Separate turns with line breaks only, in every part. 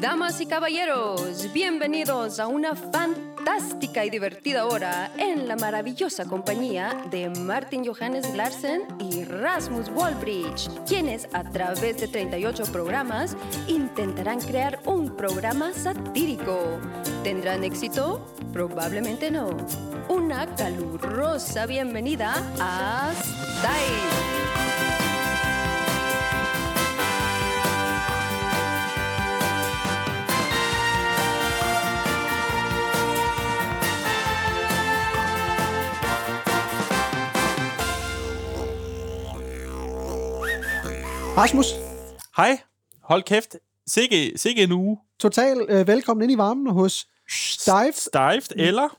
Damas y caballeros, bienvenidos a una fantástica y divertida hora en la maravillosa compañía de Martin Johannes Larsen y Rasmus Wallbridge, quienes a través de 38 programas intentarán crear un programa satírico. ¿Tendrán éxito? Probablemente no. Una calurosa bienvenida a Style.
Rasmus,
Hej. Hold kæft. Sikke, sikke en uge.
total øh, velkommen ind i varmen hos Stive.
Stived,
Mm.
eller?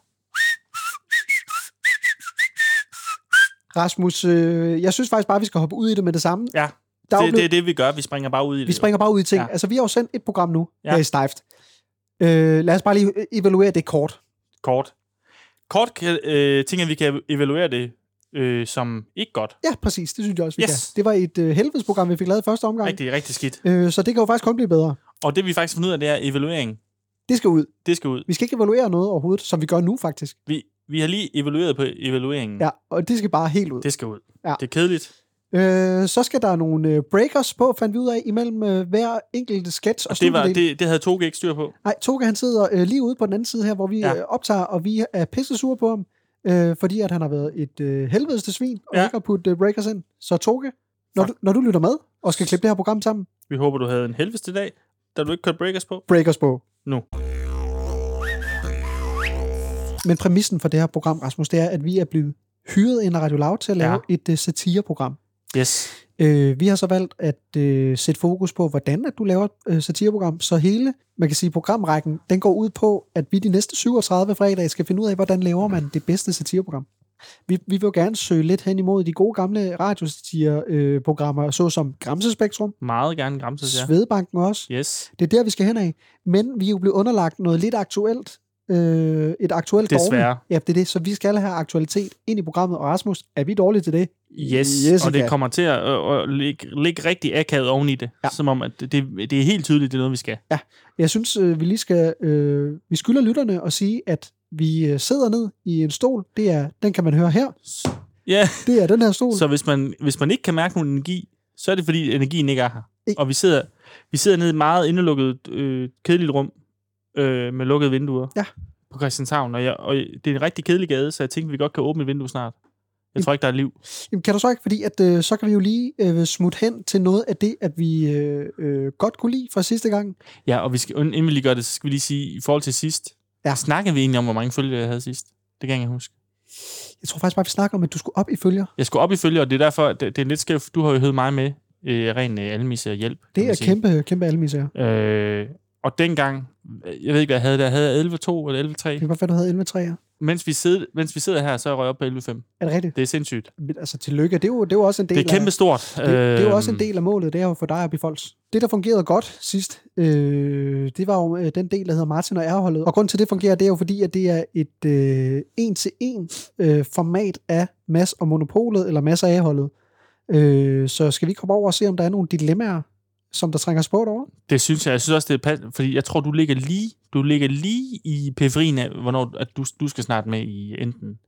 Rasmus, øh, jeg synes faktisk bare, vi skal hoppe ud i det med det samme.
Ja.
Der er jo
Det, det er
blevet,
det, vi gør. Vi springer bare ud i det.
vi springer bare ud i ting.
Ja.
Ja. Altså, vi har jo sendt et program nu
Ja.
ja. her i Stive. Øh, lad os bare lige øh, evaluere det kort.
jo. Kort. Kort kan- øh, tænker jeg, vi kan evaluere det øh, som ikke godt.
Ja, præcis. Det synes jeg også, vi
Yes.
kan. Det var et øh, helvedesprogram, vi fik lavet i første omgang.
Rigtig, rigtig skidt.
Øh, så det kan jo faktisk kun blive bedre.
Og det, vi faktisk finder ud af, det er evaluering.
Det skal ud.
Det skal ud.
Vi skal ikke evaluere noget overhovedet, som vi gør nu faktisk.
Vi, vi har lige evalueret på evalueringen.
Ja, og det skal bare helt ud.
Det skal ud.
Ja.
Det er kedeligt.
Øh, så skal der nogle øh, breakers på, fandt vi ud af, imellem øh, hver enkelt sketch og,
Og det, var,
studiedel.
det, det havde Toge ikke styr på.
Nej, Toge han sidder øh, lige ude på den anden side her, hvor vi
Ja.
ja. øh, optager, og vi er pisse sure på ham, øh, fordi at han har været et øh, helvedeste svin, og
Ja.
ja. ikke har puttet øh, breakers ind. Så Toge, når du, når du lytter med, og skal klippe det her program sammen,
Vi håber, du havde en helveste dag, da du ikke kørte breakers på.
breakers på.
Nu.
Men præmissen for det her program, Rasmus, det er, at vi er blevet hyret ind af Radio Loud til at
Ja.
lave ja. et øh, satireprogram.
Yes.
Øh, vi har så valgt at øh, sætte fokus på, hvordan at du laver et øh, satireprogram, så hele, man kan sige, programrækken, den går ud på, at vi de næste 37 fredage skal finde ud af, hvordan laver man det bedste satireprogram. Vi, vi vil jo gerne søge lidt hen imod de gode gamle radiosatireprogrammer, øh, programmer, såsom Gramsespektrum,
Meget gerne gramses, ja.
Svedbanken også.
Yes.
Det er der, vi skal hen af. Men vi er jo blevet underlagt noget lidt aktuelt, øh, et aktuelt
Desværre.
dårligt. Ja, det er det. Så vi skal have aktualitet ind i programmet. Og Rasmus, er vi dårlige til det?
Yes, yes
Jessica.
og det kommer til at, øh, at, at ligge, ligge rigtig akavet oven i det. Ja.
Ja.
Som om, at det, det det er helt tydeligt, det er noget, vi skal.
Jeg synes, øh, vi lige skal, øh, vi skylder lytterne at sige, at vi øh, sidder ned i en stol. Det er, den kan man høre her.
Ja,
Det er den her stol.
så hvis man, hvis man ikke kan mærke nogen energi, så er det fordi, energien ikke er her.
Ikke.
Og vi sidder, vi sidder nede i et meget indelukket, øh, kedeligt rum øh, med lukkede vinduer
Ja.
på Christianshavn. Og, jeg, og det er en rigtig kedelig gade, så jeg tænker, vi godt kan åbne et vindue snart. Jeg tror ikke, der er liv.
Jamen, kan du så ikke, fordi at, øh, så kan vi jo lige øh, smutte hen til noget af det, at vi øh, øh, godt kunne lide fra sidste gang.
Ja, og vi skal, inden vi lige gør det, så skal vi lige sige, i forhold til sidst,
Ja.
snakkede vi egentlig om, hvor mange følgere jeg havde sidst? Det kan jeg ikke huske.
Jeg tror faktisk bare, vi snakker om, at du skulle op i følger.
Jeg skulle op i følge, og det er derfor, at det, det er lidt skævt. Du har jo hævet mig med, øh, ren øh, almisse og hjælp. kan
Det
man
er
sige.
kæmpe, kæmpe almiser.
Øh, og dengang, øh, jeg ved ikke, hvad jeg havde der, havde jeg 11.2 eller
Det kan godt være, du havde 11 træer.
11.3. Mens vi, sidder, mens vi sidder her, så er jeg røget op på 11.5.
Er det rigtigt?
Det er sindssygt.
Men, altså, tillykke. Det er jo, det er jo også en del
Det er Øhm, kæmpe
af...
stort.
Det, det er jo også en del af målet, det er jo for dig op i folks. Det, der fungerede godt sidst, øh, det var jo øh, den del, der hedder Martin og R-holdet. Og grund til, det fungerer, det er jo fordi, at det er et øh, en-til-en øh, format af Mass og Monopolet, eller Mass og A-holdet. Øh, så skal vi ikke komme over og se, om der er nogle dilemmaer, som der trænger sport over?
Det synes jeg. Jeg synes også, det er passende, fordi jeg tror, du ligger lige, du ligger lige i periferien af, hvornår at du, du skal snart med i enten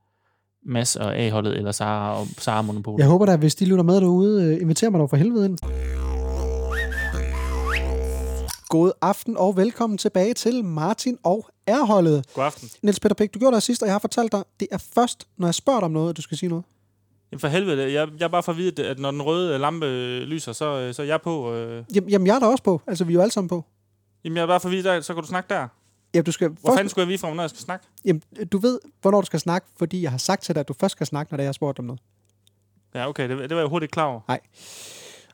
Mads og A-holdet, eller Sara og Sara Monopol.
Jeg håber da, hvis de lytter med derude, øh, inviterer mig dog for helvede ind. God aften og velkommen tilbage til Martin og R-holdet.
God aften.
Niels Peter Pick, du gjorde det sidst, og jeg har fortalt dig, det er først, når jeg spørger dig om noget, at du skal sige noget.
Jamen for helvede, jeg, jeg er bare for at vide, at når den røde lampe øh, lyser, så, øh, så er jeg på. Øh,
Jamen, jamen jeg er der også på. Altså, vi er jo alle sammen på.
jamen jeg er bare for at vide, der, så kan du snakke der.
Jamen, du, skal
Hvor
først,
fanden skulle jeg vide fra, når jeg skal snakke?
jamen, du ved, hvornår du skal snakke, fordi jeg har sagt til dig, at du først skal snakke, når det er, jeg har spurgt dig om noget.
Ja, okay, det, det var jeg hurtigt klar over.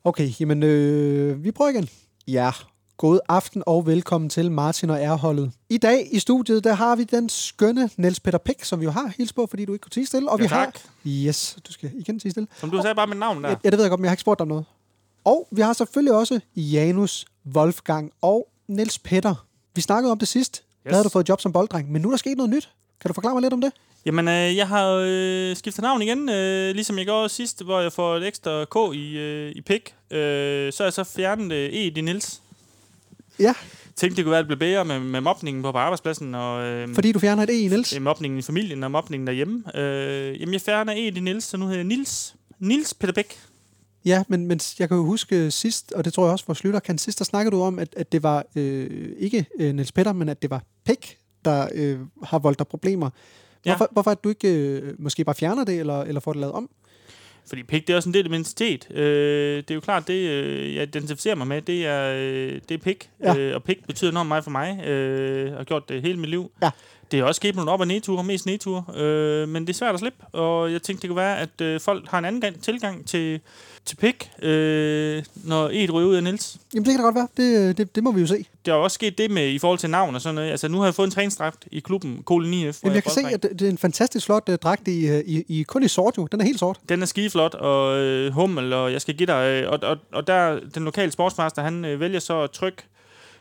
Okay, jamen, øh, vi prøver igen. Ja, god aften og velkommen til Martin og R-holdet. I dag i studiet, der har vi den skønne Niels Peter Pick, som vi jo har hils på, fordi du ikke kunne tige stille. Og
Ja,
vi
tak.
har... Yes, du skal igen tige stille.
Som du sagde bare mit navn der.
Ja, det ved jeg godt, men jeg har ikke spurgt dig om noget. Og vi har selvfølgelig også Janus, Wolfgang og Niels Petter. Vi snakkede om det sidst. Yes. Der
Yes.
havde du fået job som bolddreng, men nu er der sket noget nyt. Kan du forklare mig lidt om det?
Jamen, øh, jeg har øh, skiftet navn igen, øh, ligesom jeg gjorde sidst, hvor jeg får et ekstra K i, øh, i pik. Øh, så har jeg så fjernet øh, E i Nils.
Ja,
tænkte, det kunne være, at det blev bedre med, med mobningen på, på arbejdspladsen, og øh,
Fordi du fjerner et E i Niels.
øh, mobningen i familien og mobningen derhjemme. Øh, jamen, jeg fjerner en i Nils, så nu hedder jeg Nils. Nils Peter Bæk.
Ja, men, men jeg kan jo huske øh, sidst, og det tror jeg også, hvor Slytter kan sidst, der snakkede du om, at, at det var øh, ikke øh, Niels Petter, men at det var Pæk, der øh, har voldt dig problemer.
Ja.
Hvorfor, hvorfor at du ikke øh, måske bare fjerner det, eller, eller får det lavet om?
Fordi pik, det er også en del af min identitet. Øh, det er jo klart, det øh, jeg identificerer mig med, det er, øh, det er pik.
Ja.
Ja. Øh, og pik betyder enormt meget for mig. Øh, jeg har gjort det hele mit liv.
Ja.
Det er også sket nogle op- og nedture, mest nedture. Øh, men det er svært at slippe, og jeg tænkte, det kunne være, at øh, folk har en anden gang, tilgang til, til pik, øh, når et ryger ud af Nils.
Jamen, det kan da godt være. Det, øh, det, det må vi jo se.
Der er jo også sket det med i forhold til navn og sådan noget. Altså, nu har jeg fået en træningsdragt i klubben Kolen IF. hvor
Jamen, jeg kan se,
bolddreng.
at det, det er en fantastisk flot øh, dragt i, øh, i, i kun i sort jo. Den er helt sort.
Den er skideflot, og øh, hummel, og jeg skal give dig... Øh, og, og, og der, den lokale sportsmaster, han øh, vælger så at trykke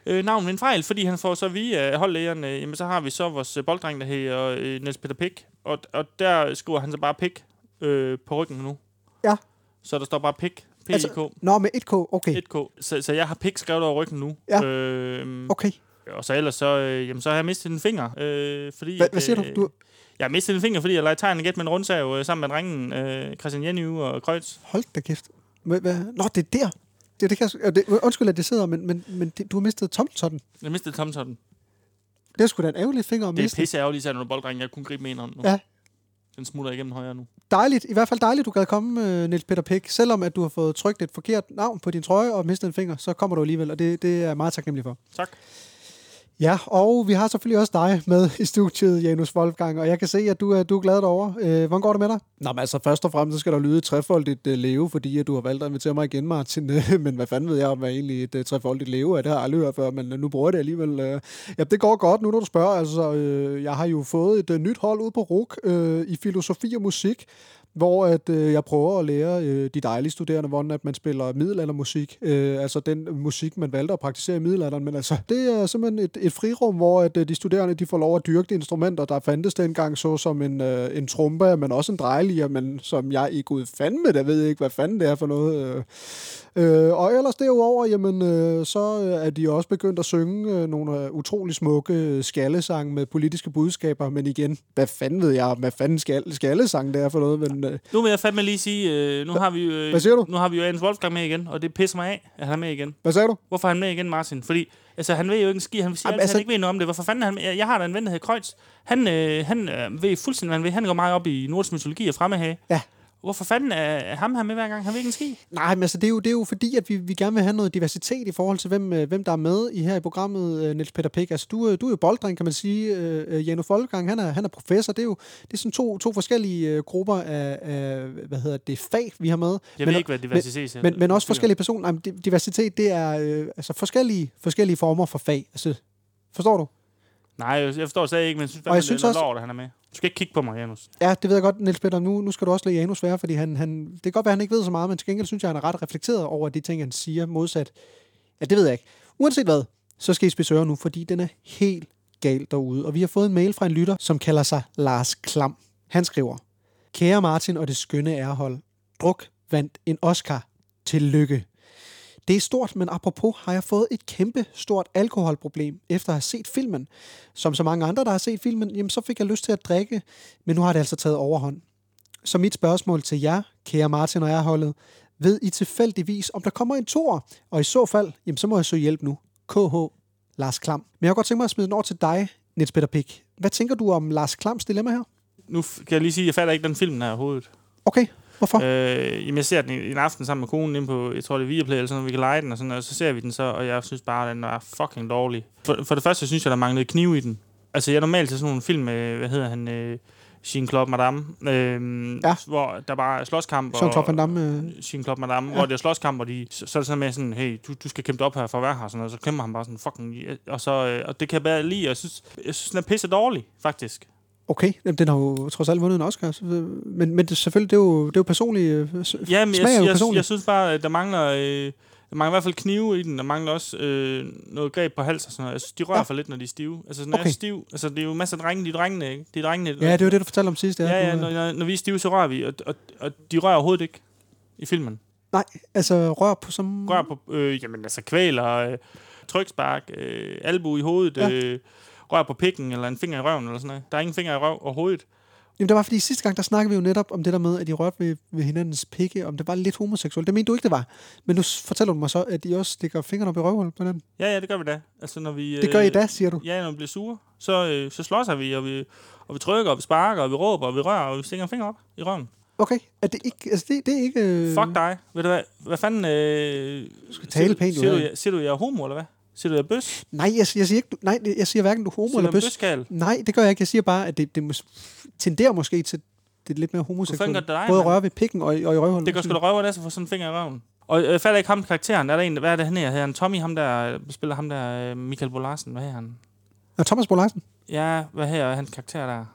øh, navnet ved en fejl, fordi han får så via af holdlægeren, øh, jamen så har vi så vores øh, bolddreng, der hedder øh, Niels Peter Pick, og, og der skriver han så bare Pick øh, på ryggen nu.
Ja.
Så der står bare Pick, p i k
Altså- Nå, med 1K. Okay.
1K. Så, så jeg har Pick skrevet over ryggen nu.
Ja.
Øh,
Okay.
og så ellers så, øh, jamen, så har jeg mistet en finger. Øh, fordi,
Hva,
at,
hvad siger du?
øh,
du?
Jeg har mistet en finger, fordi jeg legede tegn og gæt med en rundsav øh, sammen med drengen øh, Christian Jenny og Kreutz.
Hold da kæft. Hvad, hvad? Nå, det er der. Det, det kan, jeg s- øh, det, undskyld, at det sidder, men, men, men det, du har mistet tommeltotten.
Jeg mistede tomtotten.
Det er sgu da en ærgerlig finger at
Det er
miste.
pisse ærgerligt, især når bolddrengen. Jeg kunne gribe med en hånd nu.
Ja.
Den smutter igennem højre nu.
Dejligt, i hvert fald dejligt, du gad komme, øh, Niels Peter Pick. Selvom at du har fået trykt et forkert navn på din trøje og mistet en finger, så kommer du alligevel, og det, det er jeg meget taknemmelig for.
Tak.
Ja, og vi har selvfølgelig også dig med i studiet, Janus Wolfgang, og jeg kan se, at du, er, du er glad derovre. Øh, hvordan går det med dig? Nå, men altså først og fremmest, så skal der lyde et trefoldigt uh, leve, fordi at du har valgt at invitere mig igen, Martin. men hvad fanden ved jeg om, hvad egentlig et uh, trefoldigt leve er? Det har jeg aldrig hørt før, men øh, nu bruger jeg det alligevel. Uh, ja, det går godt nu, når du spørger. Altså, øh, jeg har jo fået et uh, nyt hold ude på RUK øh, i filosofi og musik, hvor at, øh, jeg prøver at lære øh, de dejlige studerende, hvordan at man spiller middelaldermusik, øh, altså den musik, man valgte at praktisere i middelalderen, men altså, det er simpelthen et, et frirum, hvor at, øh, de studerende de får lov at dyrke de instrumenter, der fandtes dengang, såsom en, øh, en trompe, men også en drejelier, men som jeg i gud fandme, der ved ikke, hvad fanden det er for noget. Øh. Øh, og ellers derudover, jamen, øh, så øh, er de også begyndt at synge øh, nogle øh, utrolig smukke øh, skallesange med politiske budskaber, men igen, hvad fanden ved jeg, om, hvad fanden skal, skallesang det er for noget, men... Øh,
Nu vil jeg fandme lige sige, øh, nu, har vi, øh,
Hvad siger du?
nu har vi jo Jens Wolfgang med igen, og det pisser mig af, at han er med igen.
Hvad sagde du?
Hvorfor er han med igen, Martin? Fordi altså, han ved jo ikke en ski. Han siger,
Jamen,
Jamen, altså,
altså-
han ikke ved noget om det. Hvorfor fanden er han med? Jeg, jeg har da en ven, der hedder Kreutz. Han, øh, han øh, ved fuldstændig, hvad han ved. Han går meget op i nordisk mytologi og fremmehage.
Ja.
Hvorfor fanden er, er ham her med hver gang? Han ved ikke en ski.
Nej, men altså, det er jo, det er jo fordi, at vi, vi gerne vil have noget diversitet i forhold til, hvem, øh, hvem der er med i her i programmet, øh, Niels Peter Pick. Altså, du, øh, du er jo bolddreng, kan man sige. Øh, øh, Janu Folkegang, han er, han er professor. Det er jo det er sådan to, to forskellige øh, grupper af, af, hvad hedder det, fag, vi har med.
Jeg
men,
ved ikke, hvad diversitet er.
men, men også forskellige personer. Nej, men di- diversitet, det er øh, altså forskellige, forskellige former for fag. Altså, forstår du?
Nej, jeg jeg forstår stadig ikke, men jeg synes,
Og jeg
fandme,
synes
det er
også-
noget lort, at han er med. Du skal ikke kigge på mig, Janus.
Ja, det ved jeg godt, Niels Peter. Nu, nu skal du også lade Janus være, fordi han, han, det kan godt være, at han ikke ved så meget, men til gengæld synes jeg, han er ret reflekteret over de ting, han siger modsat. Ja, det ved jeg ikke. Uanset hvad, så skal I spise ører nu, fordi den er helt galt derude. Og vi har fået en mail fra en lytter, som kalder sig Lars Klam. Han skriver, Kære Martin og det skønne ærhold, Druk vandt en Oscar. Tillykke. Det er stort, men apropos har jeg fået et kæmpe stort alkoholproblem efter at have set filmen. Som så mange andre, der har set filmen, jamen, så fik jeg lyst til at drikke, men nu har det altså taget overhånd. Så mit spørgsmål til jer, kære Martin og jeg holdet, ved I tilfældigvis, om der kommer en toer? Og i så fald, jamen, så må jeg søge hjælp nu. KH Lars Klam. Men jeg kunne godt tænke mig at smide den over til dig, Niels Peter Pick. Hvad tænker du om Lars Klams dilemma her?
Nu f- kan jeg lige sige, at jeg fatter ikke den film, der er hovedet.
Okay, hvorfor? Øh.
Øh, jamen, jeg ser den en aften sammen med konen inde på, jeg tror det er Viaplay eller sådan noget, vi kan lege den og sådan noget, og så ser vi den så, og jeg synes bare, at den er fucking dårlig. For, for det første synes jeg, der manglede kniv i den. Altså, jeg er normalt til sådan nogle film med, hvad hedder han, øh, Jean Claude Madame, øh,
Ja.
ja. hvor der bare er slåskamp. og-
Jean-Claude Van Damme, øh,
Jean Claude Madame, ja. hvor det er slåskamp, og de, så, så er det sådan med sådan, hey, du, du skal kæmpe dig op her for at være her, og sådan noget. så kæmper han bare sådan, fucking, ja. og, så, øh, og det kan jeg bare lide, og jeg synes, jeg synes den er pisse dårlig, faktisk.
Okay, jamen, den har jo trods alt vundet en Oscar, så, øh, men, men det, selvfølgelig, det er jo, det er jo personligt. øh, s-
Ja, men
Smag er jo
jeg, jeg,
personligt.
jeg synes bare, at der mangler, øh, der mangler i hvert fald knive i den. Der mangler også øh, noget greb på hals og sådan noget. Jeg synes, de rører
Ja.
ja. for lidt, når de er stive. Altså, når okay.
Okay.
jeg er stiv, altså, det er jo masser af drenge, de er drengene, ikke? Det er drengene.
Ja, det var det, du fortalte om sidst.
ja, ja,
du, øh,
når, når, når vi er stive, så rører vi, og, og, og de rører overhovedet ikke i filmen.
Nej, altså rør på som...
Rør på, øh, jamen altså kvæler, øh, trykspark, øh, albu i hovedet,
Ja.
ja. øh, rør på pikken, eller en finger i røven, eller sådan noget. Der er ingen finger i røv overhovedet.
Jamen det var fordi sidste gang, der snakkede vi jo netop om det der med, at de rørte ved, ved hinandens pikke, om det var lidt homoseksuelt. Det mente du ikke, det var. Men nu s- fortæller du mig så, at de også stikker fingrene op i røvhullet på hinanden.
Ja, ja, det gør vi da. Altså, når vi,
Det gør I da, siger du.
Ja, når vi bliver sure, så, øh, så slåsser vi, og vi, og vi trykker, og vi sparker, og vi råber, og vi rører, og vi stikker en finger op i røven.
Okay, er det ikke... Altså det, det er ikke... Øh...
Fuck dig. Ved du hvad? Hvad fanden... Øh, du skal
tale pænt,
Siger
jo,
du,
ja.
jeg- siger du, jeg er homo, eller hvad? Siger du, jeg er bøs? Homo
Nej, jeg, jeg, siger ikke, du, nej, jeg siger hverken, du er homo
siger du,
eller
jeg er
bøs.
bøskal?
Nej, det gør jeg ikke. Jeg siger bare, at det, det mås- tenderer måske til det lidt mere
fanden
homoseksuelt.
gør det dig,
Både at
mand?
røre ved pikken og, i- og i røvhullet.
Det gør sgu da røver, at få sådan en finger i røven. Og øh, falder ikke ham karakteren? Er der en, hvad er det, han her? Hedder han Tommy, ham der, øh, spiller ham der, øh, Michael Bolarsen? Hvad er han?
Og Thomas Bolarsen.
Ja, hvad her er hans karakter der?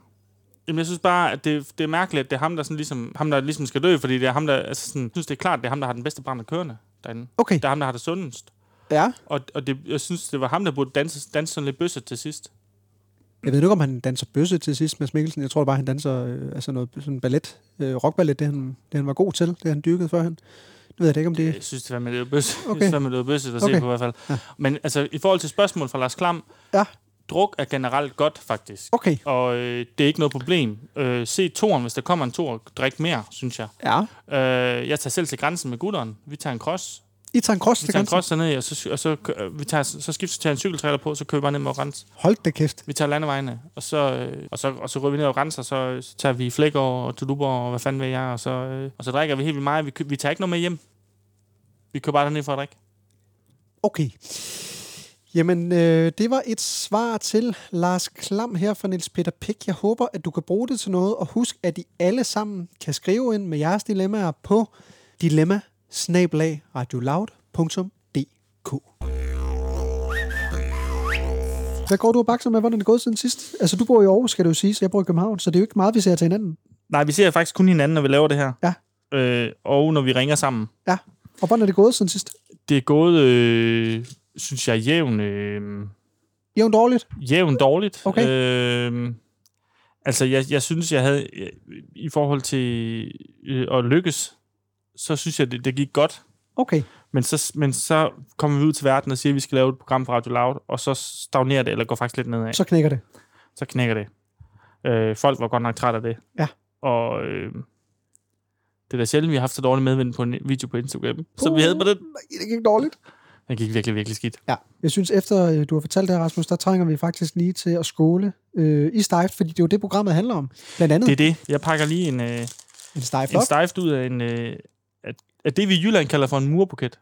Jamen, jeg synes bare, at det, det er mærkeligt, at det er ham, der, sådan ligesom, ham, der ligesom skal dø, fordi det er ham, der, altså sådan, jeg synes, det er klart, det er ham, der har den bedste brand af kørende derinde.
Okay,
Det er ham, der har det sundest.
ja.
Og, og det, jeg synes, det var ham, der burde danse, danse sådan lidt bøsset til sidst.
Jeg ved ikke, om han danser bøsse til sidst, Mads Mikkelsen. Jeg tror bare, han danser øh, altså noget sådan ballet, øh, rockballet, det han, det han var god til, det han dyrkede førhen. Det ved jeg da ikke, om det...
Jeg synes, det var med det bøsse.
Okay.
Okay. Jeg synes, det var bøsse at
Okay.
se på i hvert fald. Ja. Men altså, i forhold til spørgsmål fra Lars Klam,
Ja.
druk er generelt godt, faktisk.
Okay,
Og øh, det er ikke noget problem. Øh, se toren, hvis der kommer en tor, drik mere, synes jeg.
ja.
Øh, jeg tager selv til grænsen med gutteren. Vi tager en cross.
I tager en cross
Vi
til
tager en
grænsen.
cross derned, og så, og så, kø- øh, vi tager, så skifter vi til en cykeltræler på, så kører vi bare ned mod Rens.
Hold da kæft.
Vi tager landevejene, og så, øh, og så, og så ryger vi ned og renser, og så, så tager vi flæk over og Tuduborg, og hvad fanden ved jeg, og så, øh, og så drikker vi helt vildt meget. Vi, kø- vi tager ikke noget med hjem. Vi kører bare derned for at drikke.
Okay. Jamen, øh, det var et svar til Lars Klam her fra Niels Peter Pick. Jeg håber, at du kan bruge det til noget, og husk, at I alle sammen kan skrive ind med jeres dilemmaer på dilemma Hvad går du og bakser med? Hvordan er det gået siden sidst? Altså, du bor i Aarhus, skal du jo sige, så jeg bor i København, så det er jo ikke meget, vi ser til hinanden.
Nej, vi ser faktisk kun hinanden, når vi laver det her.
Ja.
Øh, og når vi ringer sammen.
Ja. Og hvordan er det gået siden sidst?
Det er gået, øh, synes jeg, jævn, øh,
Jævnt dårligt.
jævnt dårligt.
Okay.
Øh, altså, jeg, jeg synes, jeg havde... Jeg, I forhold til øh, at lykkes, så synes jeg, det, det gik godt.
Okay.
Men så, men så kommer vi ud til verden og siger, at vi skal lave et program på Radio Loud, og så stagnerer det, eller går faktisk lidt nedad.
Så knækker det.
Så knækker det. Øh, folk var godt nok trætte af det.
Ja.
Og øh, det er da sjældent, vi har haft så dårlig medvind på en video på Instagram. Så vi havde på den.
Det gik dårligt.
Det gik virkelig, virkelig skidt.
Ja, jeg synes efter øh, du har fortalt det her, Rasmus, der trænger vi faktisk lige til at skåle øh, i stejft, fordi det er jo det, programmet handler om. Blandt andet
Det er
det,
det. Jeg pakker lige en, øh,
en stejft
en
op.
stejft ud af en, øh, af- af det, vi i Jylland kalder for en murbuket.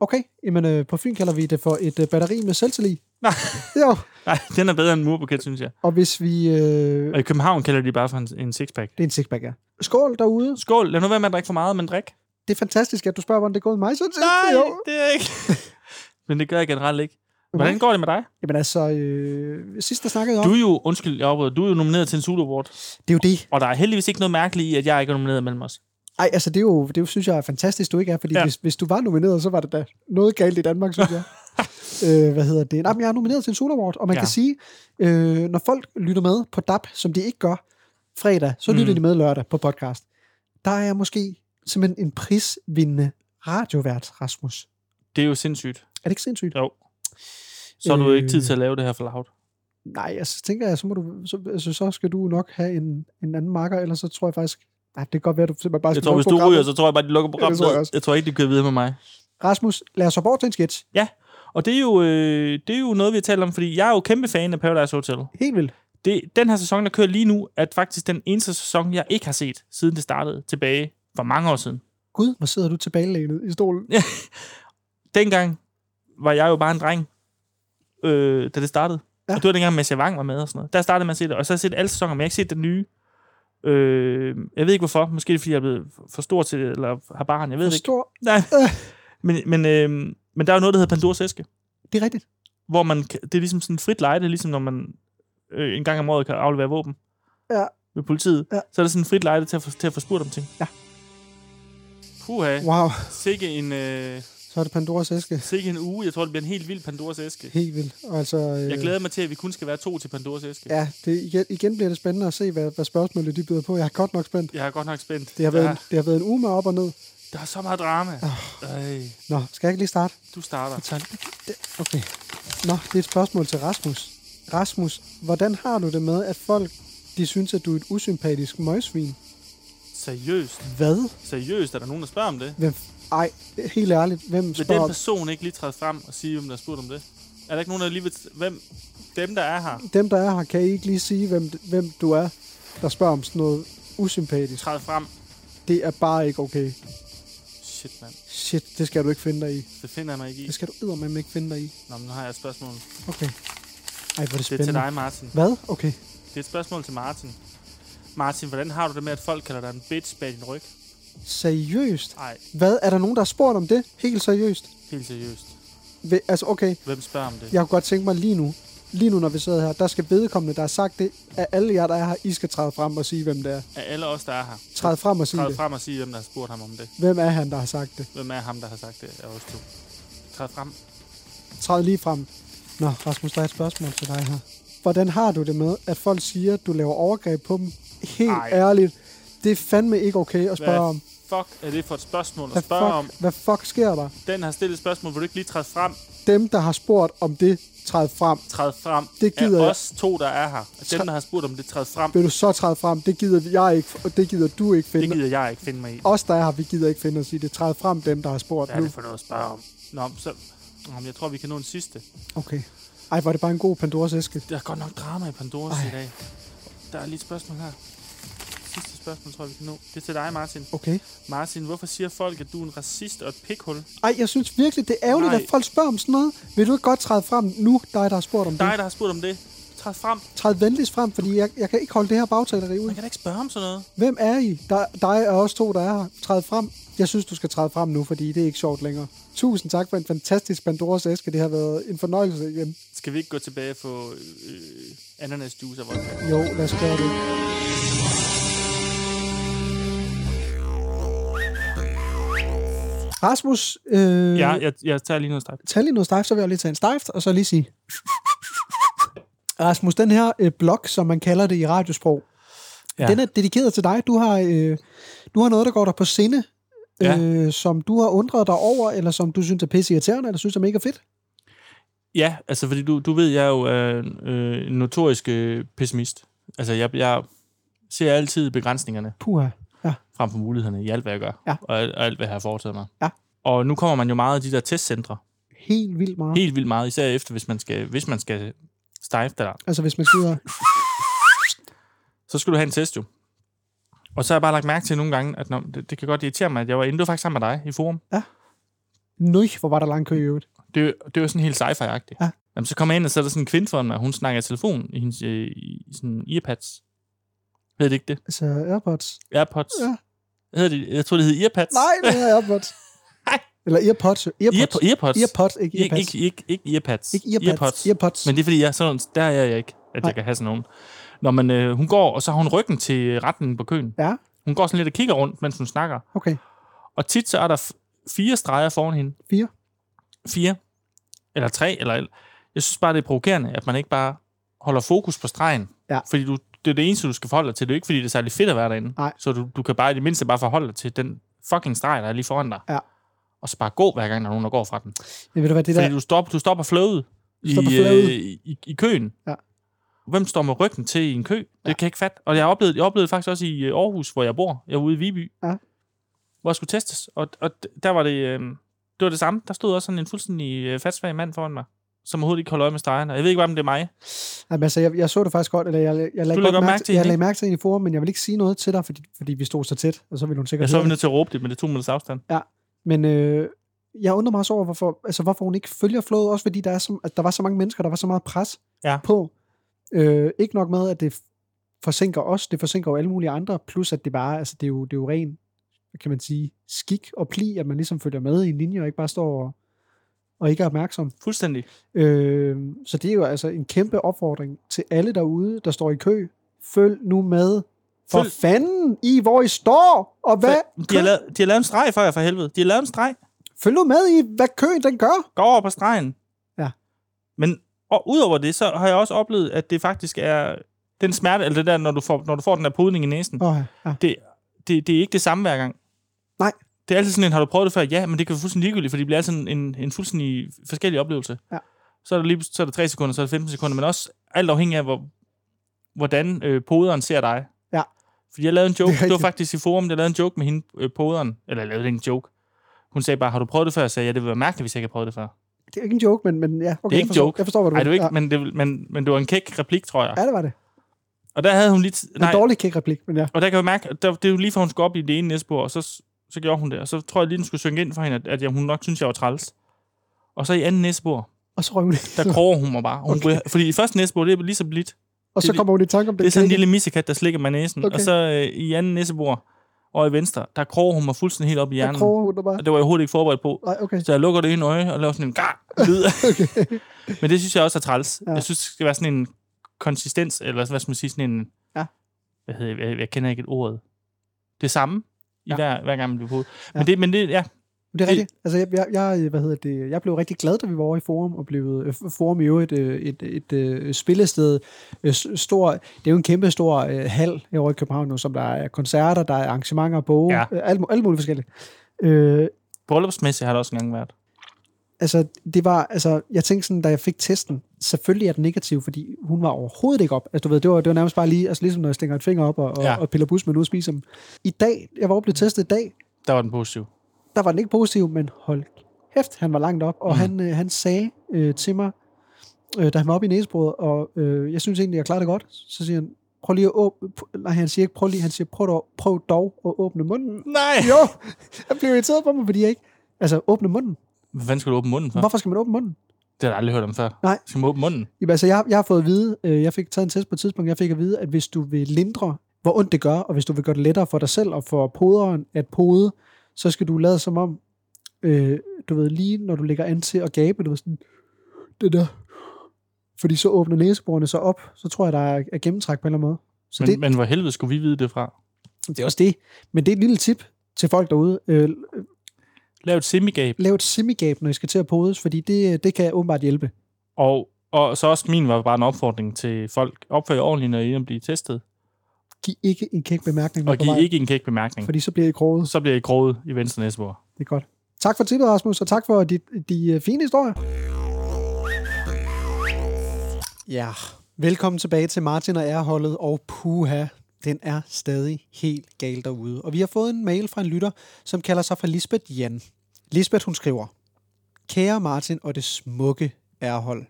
Okay, jamen øh, på Fyn kalder vi det for et øh, batteri med selvtillid.
Nej.
Jo,
Nej, den er bedre end en murbuket, synes jeg.
og hvis vi... Øh,
Og i København kalder de bare for en, en sixpack.
det er en sixpack, ja. Skål derude.
Skål, lad nu være med at drikke for meget, men drik.
Det er fantastisk, at du spørger, hvordan det er gået med mig. Sådan set.
Nej,
Jo.
det er ikke. men det gør jeg generelt ikke. Hvordan går det med dig?
Jamen altså, øh, sidst der snakkede jeg om,
Du er jo, undskyld, jeg afbryder, du er jo nomineret til en Zulu Award,
det er jo det.
og der er heldigvis ikke noget mærkeligt i, at jeg ikke er nomineret mellem os.
Ej, altså det er jo, det er jo, synes jeg er fantastisk, du ikke er, fordi ja.
Ja.
hvis, hvis du var nomineret, så var det da noget galt i Danmark, synes jeg. øh, hvad hedder det? Nej, men jeg er nomineret til en Solar Award, og man ja.
Ja.
kan sige, øh, når folk lytter med på DAP, som de ikke gør fredag, så lytter mm.
Mm.
de med lørdag på podcast. Der er jeg måske simpelthen en prisvindende radiovært, Rasmus.
Det er jo sindssygt.
Er det ikke sindssygt?
Jo. Så har du
Øh.
ikke tid til at lave det her for loud.
Nej, altså tænker jeg, så, må du, så, altså, så skal du nok have en, en anden marker, eller så tror jeg faktisk, nej, det kan godt være, at du simpelthen bare skal
Jeg tror,
lukke
hvis du
programmet.
ryger, så tror jeg bare, de lukker programmet.
Ja, det tror jeg
ned.
også.
jeg tror ikke, de kører videre med mig.
Rasmus, lad os hoppe over til en sketch.
Og det er, jo, øh, det er jo noget, vi har talt om, fordi jeg er jo kæmpe fan af Paradise Hotel.
Helt vildt.
Det, den her sæson, der kører lige nu, er faktisk den eneste sæson, jeg ikke har set, siden det startede tilbage for mange år siden.
Gud, hvor sidder du tilbagelænet i stolen.
Dengang var jeg jo bare en dreng, øh, da det startede.
Ja.
Ja. Og det var dengang, Mads Javang var med og sådan noget. Der startede man at se det, og så har jeg set alle sæsoner, men jeg har ikke set den nye. Øh, jeg ved ikke hvorfor. Måske er det, fordi jeg er blevet for stor til det, eller har barn. Jeg ved det ikke.
Stor.
Nej. Men, men, øh, men der er jo noget, der hedder Pandoras æske.
Det er rigtigt.
hvor man kan, det er ligesom sådan frit lejde, det er ligesom når man øh, en gang om året kan aflevere våben
Ja.
ved politiet,
Ja.
så er det sådan frit lejde til at, få, til at få spurgt om ting.
Ja.
Puha,
Wow.
sikke en, øh,
Så er det Pandoras æske.
sikke en uge. Jeg tror, det bliver en helt vild Pandoras æske.
Helt vildt. Og Altså, øh,
Jeg glæder mig til, at vi kun skal være to til Pandoras æske.
Ja, det, igen, igen bliver det spændende at se, hvad, hvad spørgsmålene de byder på. Jeg er godt nok spændt.
Jeg er godt nok spændt.
Det har, været,
der,
en, det har været en uge med op og ned.
er- Der er så meget drama. Øj,
Nå, skal jeg ikke lige starte?
du starter.
Okay. Nå, det er et spørgsmål til Rasmus. Rasmus, hvordan har du det med, at folk de synes, at du er et usympatisk møgsvin?
Seriøst.
Hvad?
Seriøst, er der nogen, der spørger om det?
Hvem? Ej, helt ærligt, hvem
Vil den
spørger?
person ikke lige træde frem og sige, hvem der har spurgt om det? Er der ikke nogen, der lige vil... t- Hvem? Dem, der er her,
Dem, der er her, kan I ikke lige sige, hvem, hvem du er, der spørger om sådan noget usympatisk?
træde frem.
Det er bare ikke okay.
Shit, mand.
Shit, det skal du ikke finde dig i.
Det finder jeg mig ikke i.
Det skal du eddermame ikke finde dig i.
Nå, men nu har jeg et spørgsmål.
Okay. Ej, hvor er det
Det er til
spændende.
dig, Martin.
Hvad? Okay.
Det er et spørgsmål til Martin. Martin, hvordan har du det med, at folk kalder dig en bitch bag din ryg?
Seriøst?
Nej,
Hvad? Er der nogen, der har spurgt om det? Helt seriøst?
helt seriøst.
Ved- Altså, okay.
Hvem spørger om det?
Jeg kunne godt tænke mig lige nu, lige nu, når vi sidder her, der skal vedkommende, der har sagt det, at alle jer, der er her, I skal træde frem og sige, hvem det er.
Er alle os, der er her?
Træde frem og sige
Træd
det.
frem og sig, hvem der har spurgt ham om det.
Hvem er han, der har sagt det?
Hvem er ham, der har sagt det af os to? Træd frem.
Træd lige frem. Nå, Rasmus, der er et spørgsmål til dig her. Hvordan har du det med, at folk siger, at du laver overgreb på dem? Helt
Ej.
Ej. ærligt, det er fandme ikke okay at spørge om.
Hvad fuck er det for et spørgsmål
Hvad
at spørge om?
fuck, hvad fuck sker der?
Den har stillet et spørgsmål, vil du ikke lige træde frem?
Dem, der har spurgt om det, træd frem.
Træd frem.
Det gider
er
jeg.
os to, der er her. Dem, der har spurgt om det, træd frem.
Vil du så træde frem? Det gider jeg ikke, og det gider du ikke
Det
finde.
gider jeg ikke finde mig i.
Os, der er her, vi gider ikke finde os i det. Træd frem dem, der har spurgt
Hvad er
nu.
det for noget at spørge om? Nå, men så... Nå, men jeg tror, vi kan nå en sidste.
Okay. Ej, var det bare en god Pandoras æske.
Der er godt nok drama i Pandoras
Ej.
i dag. Der er lige et spørgsmål her. Sidste spørgsmål, tror jeg, vi kan nå. Det er til dig, Martin.
Okay.
Martin, hvorfor siger folk, at du er en racist og et pikhul?
Ej, jeg synes virkelig, det er ærgerligt,
Nej.
at folk spørger om sådan noget. Vil du ikke godt træde frem nu, dig, der har spurgt om
Dig,
det?
der har spurgt om det. Træd frem.
Træd venligst frem, fordi jeg, jeg kan ikke holde det her bagtaleri ud.
Man kan da ikke spørge om sådan noget.
Hvem er I? Der, dig og os to, der er her. Træd frem. Jeg synes, du skal træde frem nu, fordi det er ikke sjovt længere. Tusind tak for en fantastisk Pandoras æske. Det har været en fornøjelse igen.
Skal vi ikke gå tilbage og få øh, ananas juice og vodka?
Jo, lad os gøre det. Rasmus, øh,
Ja, jeg, jeg tager lige noget stejt.
tage lige noget stejft, så vil jeg lige tage en stejft, og så lige sige... Rasmus, den her øh, blog, som man kalder det i radiosprog, ja. den er dedikeret til dig. Du har, øh, du har noget, der går dig på sinde,
Ja.
øh, som du har undret dig over, eller som du synes er pisse irriterende, eller synes er mega fedt.
ja altså fordi du, du ved, jeg er jo øh, øh, en notorisk øh, pessimist. Altså jeg, jeg ser altid begrænsningerne
Puha. Ja.
frem for mulighederne i alt, hvad jeg gør.
Ja.
Og, alt- og alt, hvad jeg har foretaget mig.
Ja.
Og nu kommer man jo meget af de der testcentre.
Helt vildt meget.
Helt vildt meget, især efter, hvis man skal, hvis man skal stejfte dig.
Altså, hvis man sidder...
så skulle du have en test jo. Og så har jeg bare lagt mærke til nogle gange, at når, det, det kan godt irritere mig, at jeg var inde, du var faktisk sammen med dig i forum.
Nøj, hvor var der lang kø i øvrigt.
Det, det var sådan helt sci-fi-agtigt.
Ja.
Jamen, så kommer jeg ind, og så er der sådan en kvinde foran mig, hun snakker i telefon i hendes øh, i sådan earpads. Hedder det ikke det?
Altså, Airpods.
Airpods?
Ja.
Hedder det, jeg tror, det hedder earpads.
Nej, det hedder Airpods.
Nej.
Eller Earpods. Earpods.
Earpo- Earpods.
Earpods, ikke
Ikke,
Earpads.
ikke, ikke, ikke earpads.
Ikke Earpads. Earpods. Earpods.
Men det er fordi, jeg er sådan, der er jeg ikke, at
Nej.
jeg kan have sådan nogen. Når man, øh, hun går, og så har hun ryggen til øh, retningen på køen.
Ja,
Hun går sådan lidt og kigger rundt, mens hun snakker.
okay.
Og tit så er der f- fire streger foran hende.
Fire.
Fire. Eller tre. Eller, jeg synes bare, det er provokerende, at man ikke bare holder fokus på stregen.
Ja.
Fordi du, det er det eneste, du skal forholde dig til. Det er jo ikke, fordi det er særlig fedt at være derinde.
Nej.
Så du, du kan bare i det mindste bare forholde dig til den fucking streg, der er lige foran dig.
Ja.
Og så bare gå, hver gang der er nogen, der går fra den.
Men ved du hvad, det
Fordi
der...
du stopper, du stopper flowet i,
stopper
flowet.
flowet.
Øh, i, i køen.
Ja.
Hvem står med ryggen til i en kø? Det ja. kan jeg ikke fatte. Og jeg oplevede, jeg oplevede faktisk også i øh, Aarhus, hvor jeg bor. Jeg er ude i Viby.
Ja.
Hvor jeg skulle testes. Og, og d- der var det, øh, det var det samme. Der stod også sådan en fuldstændig øh, fatsvag mand foran mig, som overhovedet ikke holdt øje med stregerne. Og Jeg ved ikke, om det er mig.
Jamen, altså, jeg, jeg så det faktisk godt, eller jeg, jeg, jeg lagde,
lagde
godt
godt
mærke
mærke til
jeg
hende,
lagde mærke til hende i forum, men jeg vil ikke sige noget til dig, fordi, fordi vi stod så tæt, og så ville hun
Jeg
sikkert
så var vi
høre
nødt til at råbe det, men det er to minutters afstand.
det. Men øh, jeg undrer mig også over, hvorfor, altså, hvorfor hun ikke følger flowet, også fordi der, er så, at der var så mange mennesker, der var så meget pres
Ja.
på. Øh, ikke nok med, at det f- forsinker os, det forsinker jo alle mulige andre, plus at det bare, altså, det er jo, det er jo ren, hvad kan man sige, skik og pli, at man ligesom følger med i en linje, og ikke bare står og, og ikke er opmærksom.
Fuldstændig.
Øh, så det er jo altså en kæmpe opfordring til alle derude, der står i kø. Følg nu med. For
Følg-
fanden i, hvor I står, og hvad...
De har, lavet, de har lavet en streg for jer, for helvede. De har lavet en streg.
Følg nu med i, hvad køen den gør.
går over på stregen.
Ja.
Men og udover det, så har jeg også oplevet, at det faktisk er den smerte, eller det der, når du får, når du får den der pudning i næsen,
Åh, ja.
det, det, det er ikke det samme hver gang.
Nej.
Det er altid sådan en, har du prøvet det før? Ja, men det kan være fuldstændig ligegyldigt, for det bliver altid en, en, en fuldstændig forskellig oplevelse.
Ja.
Så er, der lige, så er der 3 sekunder, så er der 15 sekunder, men også alt afhængig af, hvor, hvordan øh, poderen ser dig.
Ja.
Fordi jeg lavede en joke,
Det er
det, det var
rigtigt.
faktisk i forum, jeg lavede en joke med hende, øh, poderen, eller jeg lavede ikke en joke. Hun sagde bare, har du prøvet det før? Jeg sagde, ja, det ville være mærkeligt, hvis jeg ikke har prøvet det før.
Det er ikke en joke, men, men ja. Okay,
Det er ikke
jeg forstår,
joke.
Jeg forstår, hvad du
Nej, det var
mener.
ikke, ja. men, det, men, men det var en kæk replik, tror jeg.
Ja, det var det.
Og der havde hun lige... t-
Det er
Nej,
en dårlig kæk-replik, men ja.
og der kan jeg mærke, at der, det er jo lige før hun skulle op i det ene næsbord, og så, så gjorde hun det. Og så tror jeg lige, den skulle synge ind for hende, at, at jeg, hun nok synes, jeg var træls. Og så i anden næsbord,
Og så røg hun
der kroger hun mig bare. Hun
Okay.
okay. fordi i første næsbord, det er lige så blidt.
Og så
det-
kommer hun i tanke om den
Det er sådan en
kække.
lille missekat, der slikker mig i næsen.
Okay.
Okay. Og så øh, i anden næsebord og i venstre, der kroger hun mig fuldstændig helt op i
Der
hjernen.
kroger hun der bare.
Og det var jeg overhovedet ikke forberedt på.
Nej, okay.
Så jeg lukker det ene øje og laver sådan en gar lyd. Men det synes jeg også er træls.
Ja.
Ja. Jeg synes, det skal være sådan en konsistens, eller hvad skal man sige, sådan en...
Ja.
Hvad hedder, jeg, jeg, jeg kender ikke et ord. Det samme, i
Ja.
ja. hver, hver gang man bliver på.
Ja.
Men, det, men det, ja,
Men Det er rigtigt. Altså, jeg, jeg, jeg, hvad hedder det, jeg blev rigtig glad, da vi var over i Forum, og blev øh, Forum i øvrigt øh, et, et, et, et spillested. Øh, s- Stor, det er jo en kæmpe stor øh, hal herovre i København nu, som der er koncerter, der er arrangementer, boge, ja.
Ja.
øh, alt, mu- alt muligt forskelligt. Øh,
bryllupsmæssigt har det også engang været.
altså, det var, altså, jeg tænkte sådan, da jeg fik testen, selvfølgelig er den negativ, fordi hun var overhovedet ikke op. Altså, du ved, det var, det var nærmest bare lige, altså, ligesom når jeg stinger et finger op og, og, ja.
Ja.
og piller bus, men ud og spiser dem. I dag, jeg var oppe og blev testet i dag,
Der var den positiv.
der var den ikke positiv, men hold kæft, han var langt op, og mm.
Mhm.
han, øh, han sagde øh, til mig, øh, da han var oppe i næsebordet, og øh, jeg synes egentlig, jeg klarer det godt, så siger han, prøv lige at åbne, p- nej, han siger ikke, prøv lige, han siger, prøv dog, prøv dog at åbne munden.
Nej!
Jo, han blev irriteret på mig, fordi jeg ikke, altså åbne munden.
Hvad fanden skulle du åbne munden for?
Hvorfor skal man åbne munden?
Det har jeg aldrig hørt om før.
Nej.
Skal man åbne munden?
Jamen, altså, jeg, jeg har fået at vide, øh, jeg fik taget en test på et tidspunkt, jeg fik at vide, at hvis du vil lindre, hvor ondt det gør, og hvis du vil gøre det lettere for dig selv og for poderen at pode, så skal du lade som om, øh, du ved, lige når du lægger an til at gabe, du ved sådan, det der. Fordi så åbner næseborene sig op, så tror jeg, der er, er gennemtræk på en eller anden måde. Så
Men,
det,
det... men hvor helvede skulle vi vide det fra?
det er også det. Men det er et lille tip til folk derude. Øh,
Lav et semigab.
lav et semigab, når I skal til at podes, fordi det, det kan åbenbart hjælpe.
Og, og så også min var bare en opfordring til folk. Opfør jer ordentligt, når I er inde at blive testet.
Giv ikke en kæk bemærkning.
Og
på
giv
vej,
ikke en kæk bemærkning.
Fordi så bliver I kroget.
Så bliver I groet i venstre næste år.
Det er godt. Tak for tippet, Rasmus, og tak for de, de øh, fine historier. Ja, velkommen tilbage til Martin og Erholdet, og puha, den er stadig helt gal derude. Og vi har fået en mail fra en lytter, som kalder sig for Lisbeth Jan. Lisbeth, hun skriver, Kære Martin og det smukke Erhold,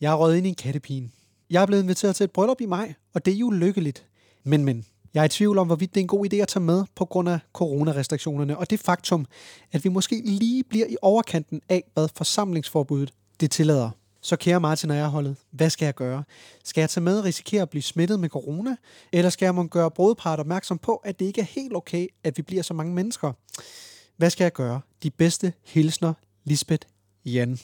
jeg er røget ind i en kattepine. Jeg er blevet inviteret til et bryllup i maj, og det er jo lykkeligt. Men, men, jeg er i tvivl om, hvorvidt det er en god idé at tage med på grund af coronarestriktionerne, og det faktum, at vi måske lige bliver i overkanten af, hvad forsamlingsforbuddet det tillader. Så kære Martin og jeg holdet, hvad skal jeg gøre? Skal jeg tage med og risikere at blive smittet med corona? Eller skal jeg må gøre brudepart opmærksom på, at det ikke er helt okay, at vi bliver så mange mennesker? Hvad skal jeg gøre? De bedste hilsner, Lisbeth Jan.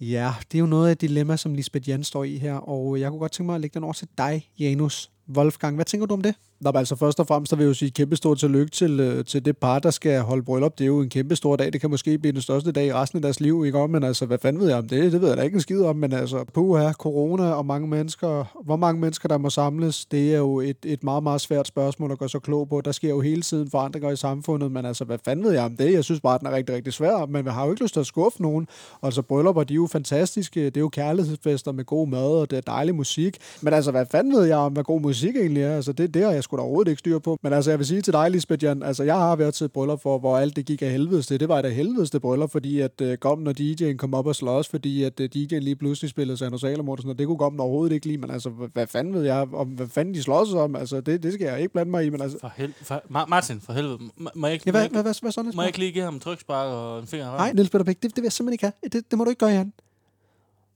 Ja, det er jo noget af et dilemma, som Lisbeth Jan står i her, og jeg kunne godt tænke mig at lægge den over til dig, Janus Wolfgang. Hvad tænker du om det?
Nå, men altså først og fremmest, der vil jeg jo sige kæmpe stor tillykke til, øh, til det par, der skal holde bryllup. Det er jo en kæmpe stor dag. Det kan måske blive den største dag i resten af deres liv, ikke om? Men altså, hvad fanden ved jeg om det? Det ved jeg da ikke en skid om, men altså, puha, corona og mange mennesker, hvor mange mennesker, der må samles, det er jo et, et meget, meget svært spørgsmål at gøre sig klog på. Der sker jo hele tiden forandringer i samfundet, men altså, hvad fanden ved jeg om det? Jeg synes bare, at den er rigtig, rigtig svær, men vi har jo ikke lyst til at skuffe nogen. Altså, bryllupper, de er jo fantastiske. Det er jo kærlighedsfester med god mad, og det er dejlig musik. Men altså, hvad fanden ved jeg om, hvad god musik egentlig er? Altså, det, det har jeg sgu da overhovedet ikke styr på. Men altså, jeg vil sige til dig, Lisbeth Jan, altså, jeg har været til et bryllup, for, hvor alt det gik af helvedes til. Det var et af helvedes til bryllup, fordi at øh, gommen og DJ'en kom op og slås, fordi at øh, DJ'en lige pludselig spillede Sandro Salomortensen, og det kunne gommen overhovedet ikke lide. Men altså, hvad, hvad fanden ved jeg om, hvad fanden de slås om? Altså, det, det skal jeg ikke blande mig i, men altså...
For hel... for... Ma- Martin, for helvede. M- må jeg ikke,
Ja,
må jeg
hvad,
ikke-
hvad, hvad, hvad så, Niels?
Må jeg ikke lige give ham en trykspark og en finger i
Nej,
røven?
Niels Peter Bæk, det, det vil jeg simpelthen ikke have. Det, det må du ikke gøre, Jan.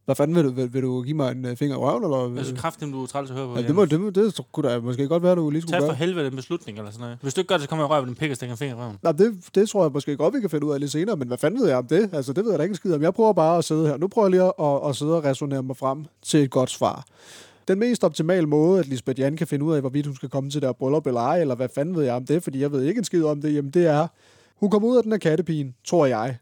Hvad fanden vil du, vil, vil du give mig en øh, finger i røven, eller...
Jeg synes kraftigt, du er træls at høre på.
Ja,
Jan.
det, må, det, må, det kunne da måske godt være, du lige skulle
Tag for
gøre.
helvede en beslutning eller sådan noget. Hvis du ikke gør det, så kommer jeg og rører ved den pik og stikker en finger i røven.
Nej, det, det tror jeg måske godt, vi kan finde ud af lidt senere, men hvad fanden ved jeg om det? Altså, det ved jeg da ikke en skid om. Jeg prøver bare at sidde her. Nu prøver jeg lige at, at sidde og resonere mig frem til et godt svar. Den mest optimale måde, at Lisbeth Jan kan finde ud af, hvorvidt hun skal komme til der bryllup eller ej, eller hvad fanden ved jeg om det, fordi jeg ved ikke en skid om det, jamen det er, hun kommer ud af den her kattepine, tror jeg,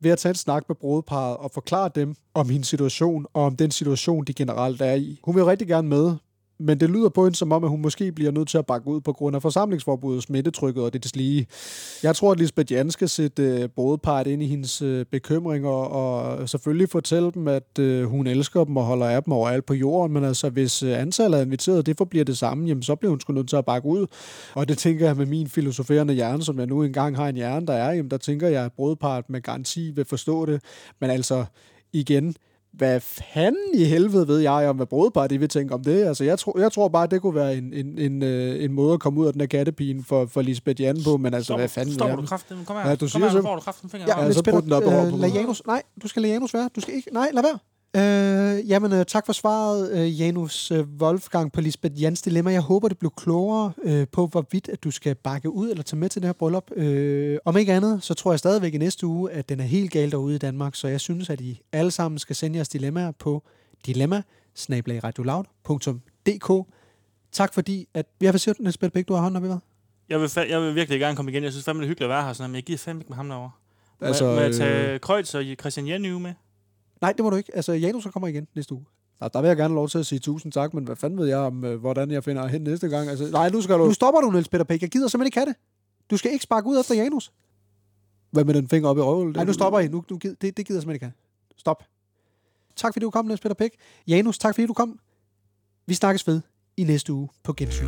ved at tage en snak med brudeparret og forklare dem om hendes situation og om den situation, de generelt er i. Hun vil rigtig gerne med,
Men det lyder på hende som om, at hun måske bliver nødt til at bakke ud på grund af forsamlingsforbuddet, smittetrykket og det deslige. Jeg tror, at Lisbeth Jan skal sætte øh, brudepart ind i hendes øh, bekymringer og selvfølgelig fortælle dem, at øh, hun elsker dem og holder af dem overalt på jorden. Men altså, hvis øh, antallet af inviterede, det forbliver det samme, jamen, så bliver hun sgu nødt til at bakke ud. Og det tænker jeg med min filosoferende hjerne, som jeg nu engang har en hjerne, der er, jamen, der tænker jeg, at brudepart med garanti vil forstå det. Men altså, igen, hvad fanden i helvede ved jeg om, hvad brudepar de vil tænke om det? Altså, jeg, tror, jeg tror bare, det kunne være en, en, en, øh, en måde at komme ud af den her kattepine for, for Lisbeth Jan på, men altså,
Stopper,
hvad fanden
stopper
ved
du
jeg?
kraften? Kom her.
Ja, du
kom
siger
her, nu
så-
får du kraften fingeren.
Ja,
Ja,
men
så
så
brug den op over
øh,
på
lad
bordet.
Janus, nej, du skal lade Janus være. Du skal ikke, nej, lad være. Øh, jamen, øh, tak for svaret, øh, Janus øh, Wolfgang på Lisbeth Jans dilemma. Jeg håber, det blev klogere øh, på, hvorvidt at du skal bakke ud eller tage med til det her bryllup. Øh, om ikke andet, så tror jeg stadigvæk i næste uge, at den er helt galt derude i Danmark, så jeg synes, at I alle sammen skal sende jeres dilemmaer på dilemma Tak fordi, at... Jeg vil sige, at Niels Peter Bæk, du har hånden op i hvad?
Jeg vil, fa- jeg vil virkelig gerne komme igen. Jeg synes fandme, det er hyggeligt at være her, sådan, her, men jeg gider fandme ikke med ham derovre. Må, altså,
Altså,
jeg, må jeg
øh,
tage Kreutz og Christian Jenny med?
Nej, det må du ikke. Altså, Janus så kommer igen næste uge.
Nå, der vil jeg gerne have lov til at sige tusind tak, men hvad fanden ved jeg om, øh, hvordan jeg finder hen næste gang? Altså, nej, nu skal
Nu
du...
stopper du, Niels Peter Bæk. Jeg gider simpelthen ikke have det. Du skal ikke sparke ud efter Janus.
Hvad med den finger op i røven?
Nej, nu stopper I. Nu, nu gid, det, det gider jeg simpelthen ikke have. Stop. Tak fordi du kom, Niels Peter Bæk. Janus, tak fordi du kom. Vi snakkes ved i næste uge på Gensyn.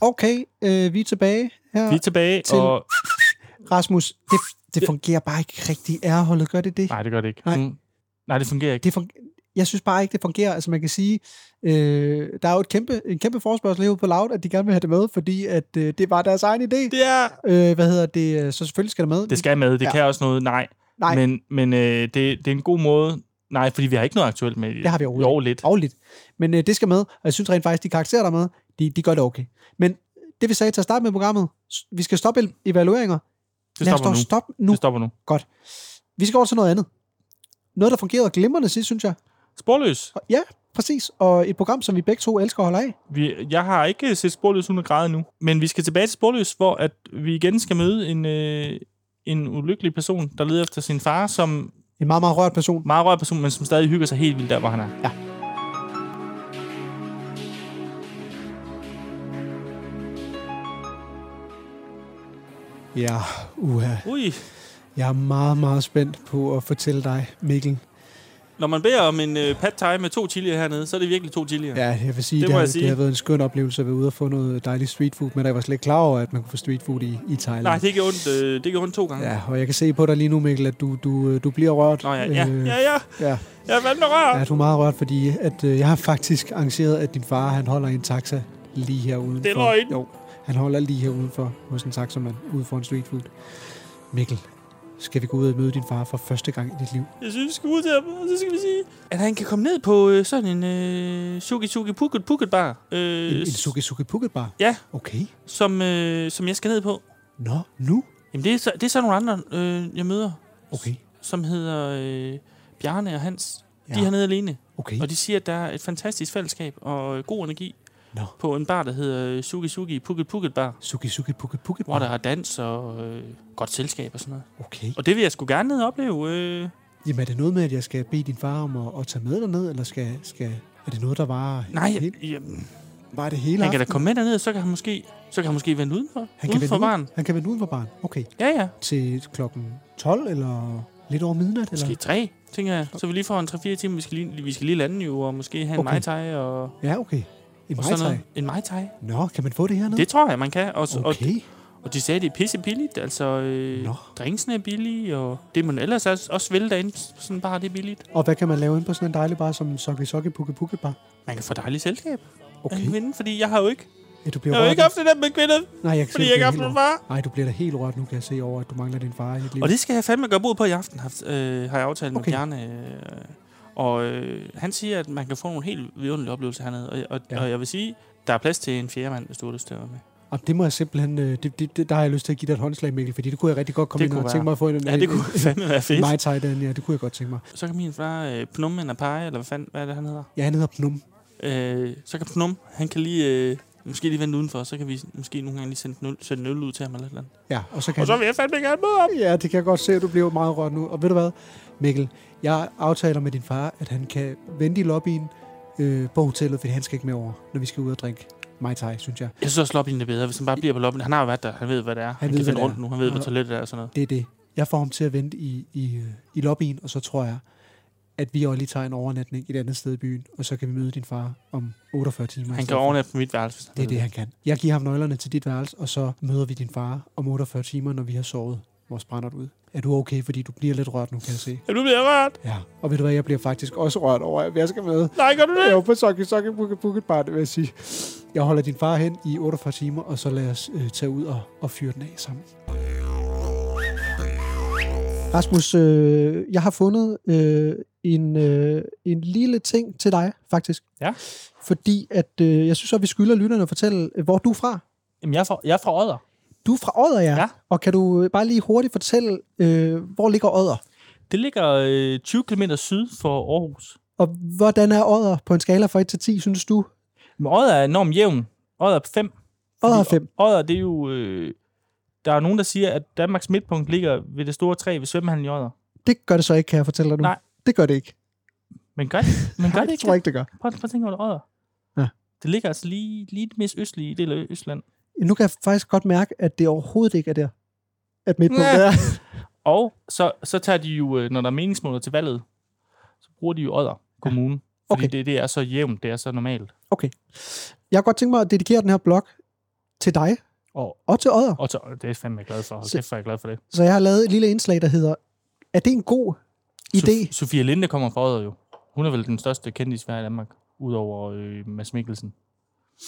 Okay, øh, vi er tilbage her.
Vi er tilbage,
til-
og...
Rasmus, det, det fungerer bare ikke rigtigt. Ærholdet gør det det?
Nej, det gør det ikke.
Nej.
Mm. Nej, det fungerer ikke.
det fun- jeg synes bare ikke, det fungerer. Altså man kan sige, øh, der er jo et kæmpe, en kæmpe forspørgsel herude på Loud, at de gerne vil have det med, fordi at, øh, det var deres egen idé.
Det, er...
Øh, hvad hedder det? øh, Så selvfølgelig skal det med.
det skal med. Det
Ja.
ja. kan også noget. Nej.
Nej.
Men, men øh, det, det er en god måde. Nej, fordi vi har ikke noget aktuelt med i
Det har vi overhovedet
Jo, lidt.
Og lidt. Men øh, det skal med, og jeg synes rent faktisk, de karakterer, der er med, de, de gør det okay. Men det vi sagde til at starte med programmet, s- vi skal stoppe el- evalueringer.
Det
Lad os
stopper
dog
nu.
stoppe nu.
Det stopper nu.
Vi skal over til noget andet. Noget, der fungerede glimrende sidst, synes jeg.
Sporløs.
Og, ja, præcis. Og et program, som vi begge to elsker at holde af.
Vi, jeg har ikke set Sporløs 100 grader nu, men vi skal tilbage til Sporløs, hvor at vi igen skal møde en, øh, en ulykkelig person, der leder efter sin far, som
En meget, meget rørt person.
meget rørt person, men som stadig hygger sig helt vildt der, hvor han er.
Ja, uha.
Ui,
Jeg er meget, meget spændt på at fortælle dig, Mikkel.
når man beder om en øh, pad thai med to chilier hernede, så er det virkelig to chilier. Ja.
Ja, jeg vil sige,
Det
det, det, har,
må jeg sige.
det har været en skøn oplevelse at være ude og få noget dejligt street food, men jeg var slet ikke klar over, at man kunne få street food i, i Thailand.
Nej, det gjorde ondt, øh, det gjorde ondt to gange. Ja.
Ja, og jeg kan se på dig lige nu, Mikkel, at du, du, øh, du bliver rørt.
Nå ja, ja,
Øh,
ja, ja.
ja.
Jeg er fandme rørt.
Ja, du er meget rørt, fordi at, øh, jeg har faktisk arrangeret, at din far han holder i en taxa lige her udenfor.
Det er løgn.
Jo, han holder lige her udenfor hos en taxamand ude for en street food. Mikkel, skal vi gå ud og møde din far for første gang i dit liv?
Jeg synes, vi skal ud til ham, og så skal vi sige, at han kan komme ned på øh, sådan en øh, suki suki pukket pukket bar, øh,
En, en suki suki Phuket bar?
Ja.
Okay.
som, øh, som jeg skal ned på.
Nå, nu?
Jamen, det er så, det er så nogle andre, øh, jeg møder,
Okay,
som hedder øh, Bjarne og Hans. Ja.
Ja.
De er hernede alene,
okay.
og de siger, at der er et fantastisk fællesskab og øh, god energi
Nå.
på en bar, der hedder øh, Suki Suki Pukket Pukket Bar,
Suki suki Phuket Phuket
hvor der
bar?
er dans og øh, godt selskab og sådan noget.
Okay.
Og det vil jeg sgu gerne ned og opleve. Øh.
Jamen er det noget med, at jeg skal bede din far om at, at tage med derned, eller skal, skal, er det noget, der var
Nej,
helt,
jamen,
var det hele
han kan da
aftenen?
komme med derned, og så kan han måske, så kan han måske vende udenfor.
han
uden
vende
for
ud-
baren.
Han kan vende uden for barn. Okay.
Ja, ja.
til klokken 12 eller lidt over midnat?
Måske
Eller?
tre, tænker jeg. Så vi lige får en 3-4 timer. Vi skal lige, vi skal lige lande jo, og måske have en
Okay.
okay. Mai Tai og, og
Ja, okay. En
sådan
vejtræ.
noget. En Mai Tai.
Nå, kan man få det hernede?
Det tror jeg, man kan. Og, okay. og,
Okay.
og de sagde, det er pisse billigt. Altså, øh,
Nå.
drinksene er billige, og det man ellers også, også vil derinde, sådan bare det er billigt.
Og hvad kan man lave inde på sådan en dejlig bar som Sokke Sokke Pukke Pukke Bar?
Man kan få dejligt selskab okay. af en
Okay.
kvinde, fordi jeg har jo ikke,
Ja, du
jeg
bliver
har jo
rørt.
ikke
nu.
haft det der med kvinder,
Nej, jeg kan
fordi
se,
jeg
du
ikke har haft
bliver helt
nogen
rørt.
far.
Nej, du bliver da helt rørt nu, kan jeg se over, at du mangler din far i dit liv.
Og det skal jeg fandme gøre brud på i aften, har, øh, har jeg aftalt okay.
Okay.
med Bjarne. Øh, og øh, han siger, at man kan få nogle helt vidunderlige oplevelser hernede. Og, og,
Ja.
ja. og jeg vil sige, der er plads til en fjerde mand, hvis du har lyst til at være med.
Og det må jeg simpelthen... øh, Det, det, det, der har jeg lyst til at give dig et håndslag, Mikkel, fordi det kunne jeg rigtig godt komme
Det
ind og
kunne
tænke
være.
mig at få en...
Ja, det kunne fandme være fedt.
Mai Tai, den, ja, det kunne jeg godt tænke mig.
Så kan min far øh, Pnum Napai, eller hvad fanden, hvad er det, han hedder?
Ja, han hedder Pnum.
Øh, så kan Pnum, han kan lige, øh, måske lige vente udenfor, så kan vi måske nogle gange lige sende, en øl, sende en øl ud til ham eller et eller andet.
Ja, og så kan
Og så
han-
vil jeg fandme gerne møde ham.
Ja, det kan jeg godt se, at du bliver meget rørt nu. Og ved du hvad, Mikkel, jeg aftaler med din far, at han kan vente i lobbyen, øh, på hotellet, fordi han skal ikke med over, når vi skal ud og drikke Mai Tai, synes jeg.
Jeg synes også, Lobbyen er bedre, hvis han bare bliver på Lobbyen. Han har jo været der. Han ved, hvad det er. Han, han
ved, hvad
kan finde
det
rundt
er.
nu. Han ved, hvor
Og-
toilettet er og sådan noget.
Det er det. Jeg får ham til at vente i, i, øh, i lobbyen, og så tror jeg, at vi også lige tager en overnatning et andet sted i byen, og så kan vi møde din far om 48 timer. i
Han
stedet
kan
for.
overnatte på mit værelse. hvis
Det er
vil.
det, han kan. Jeg giver ham nøglerne til dit værelse, og så møder vi din far om 48 timer, når vi har sovet vores brændert ud. Er du okay, fordi du bliver lidt rørt nu, kan jeg se?
Ja, nu bliver jeg rørt.
Ja. Og ved du hvad, jeg bliver faktisk også rørt over, at jeg skal med.
Nej, gør du det?
Jeg var på Socky Socky Bucket Bucket Bar, det vil jeg sige. Jeg holder din far hen i 48 timer, og så lad os øh, tage ud og, og fyre den af sammen.
Rasmus, øh, jeg har fundet øh, en, øh, en lille ting til dig, faktisk.
Ja.
Fordi at, øh, jeg synes at vi skylder lytterne at fortælle, øh, hvor du er fra.
Jamen, jeg er fra, jeg er fra Odder.
Du er fra Odder, ja.
Ja.
Og kan du øh, bare lige hurtigt fortælle, øh, hvor ligger Odder?
Det ligger øh, 20 km syd for Aarhus.
Og hvordan er Odder på en skala fra 1 til 10, synes du?
Men Odder er enormt jævn. Odder er 5.
Odder er
Fordi
5.
Odder, det er jo... Øh, der er nogen, der siger, at Danmarks midtpunkt ligger ved det store træ ved svømmehallen i Odder.
Det gør det så ikke, kan jeg fortælle dig nu.
Nej.
Det gør det ikke.
Men gør det, men gør det
det
ikke?
tror jeg ikke, det gør.
det? Prøv, prøv at tænke over det, Odder.
Ja.
Det ligger altså lige, lige den mest østlige del af Østland.
Nu kan jeg faktisk godt mærke, at det overhovedet ikke er der. At midt på
Næh.
der.
Og så, så tager de jo, øh, når der er meningsmåler til valget, så bruger de jo Odder Kommune. Fordi
Okay.
det, det er så jævnt, det er så normalt.
Okay. Jeg kunne godt tænke mig at dedikere den her blog til dig
Og,
og til Odder.
og så, det er jeg fandme glad for. Hold
Så-
kæft, hvor er jeg glad for det.
Så jeg har lavet et lille indslag, der hedder, er det en god idé?
Sof- Sofia Linde kommer fra Odder jo. Hun er vel den største kendis, vi har i Danmark. Udover øh, Mads Mikkelsen.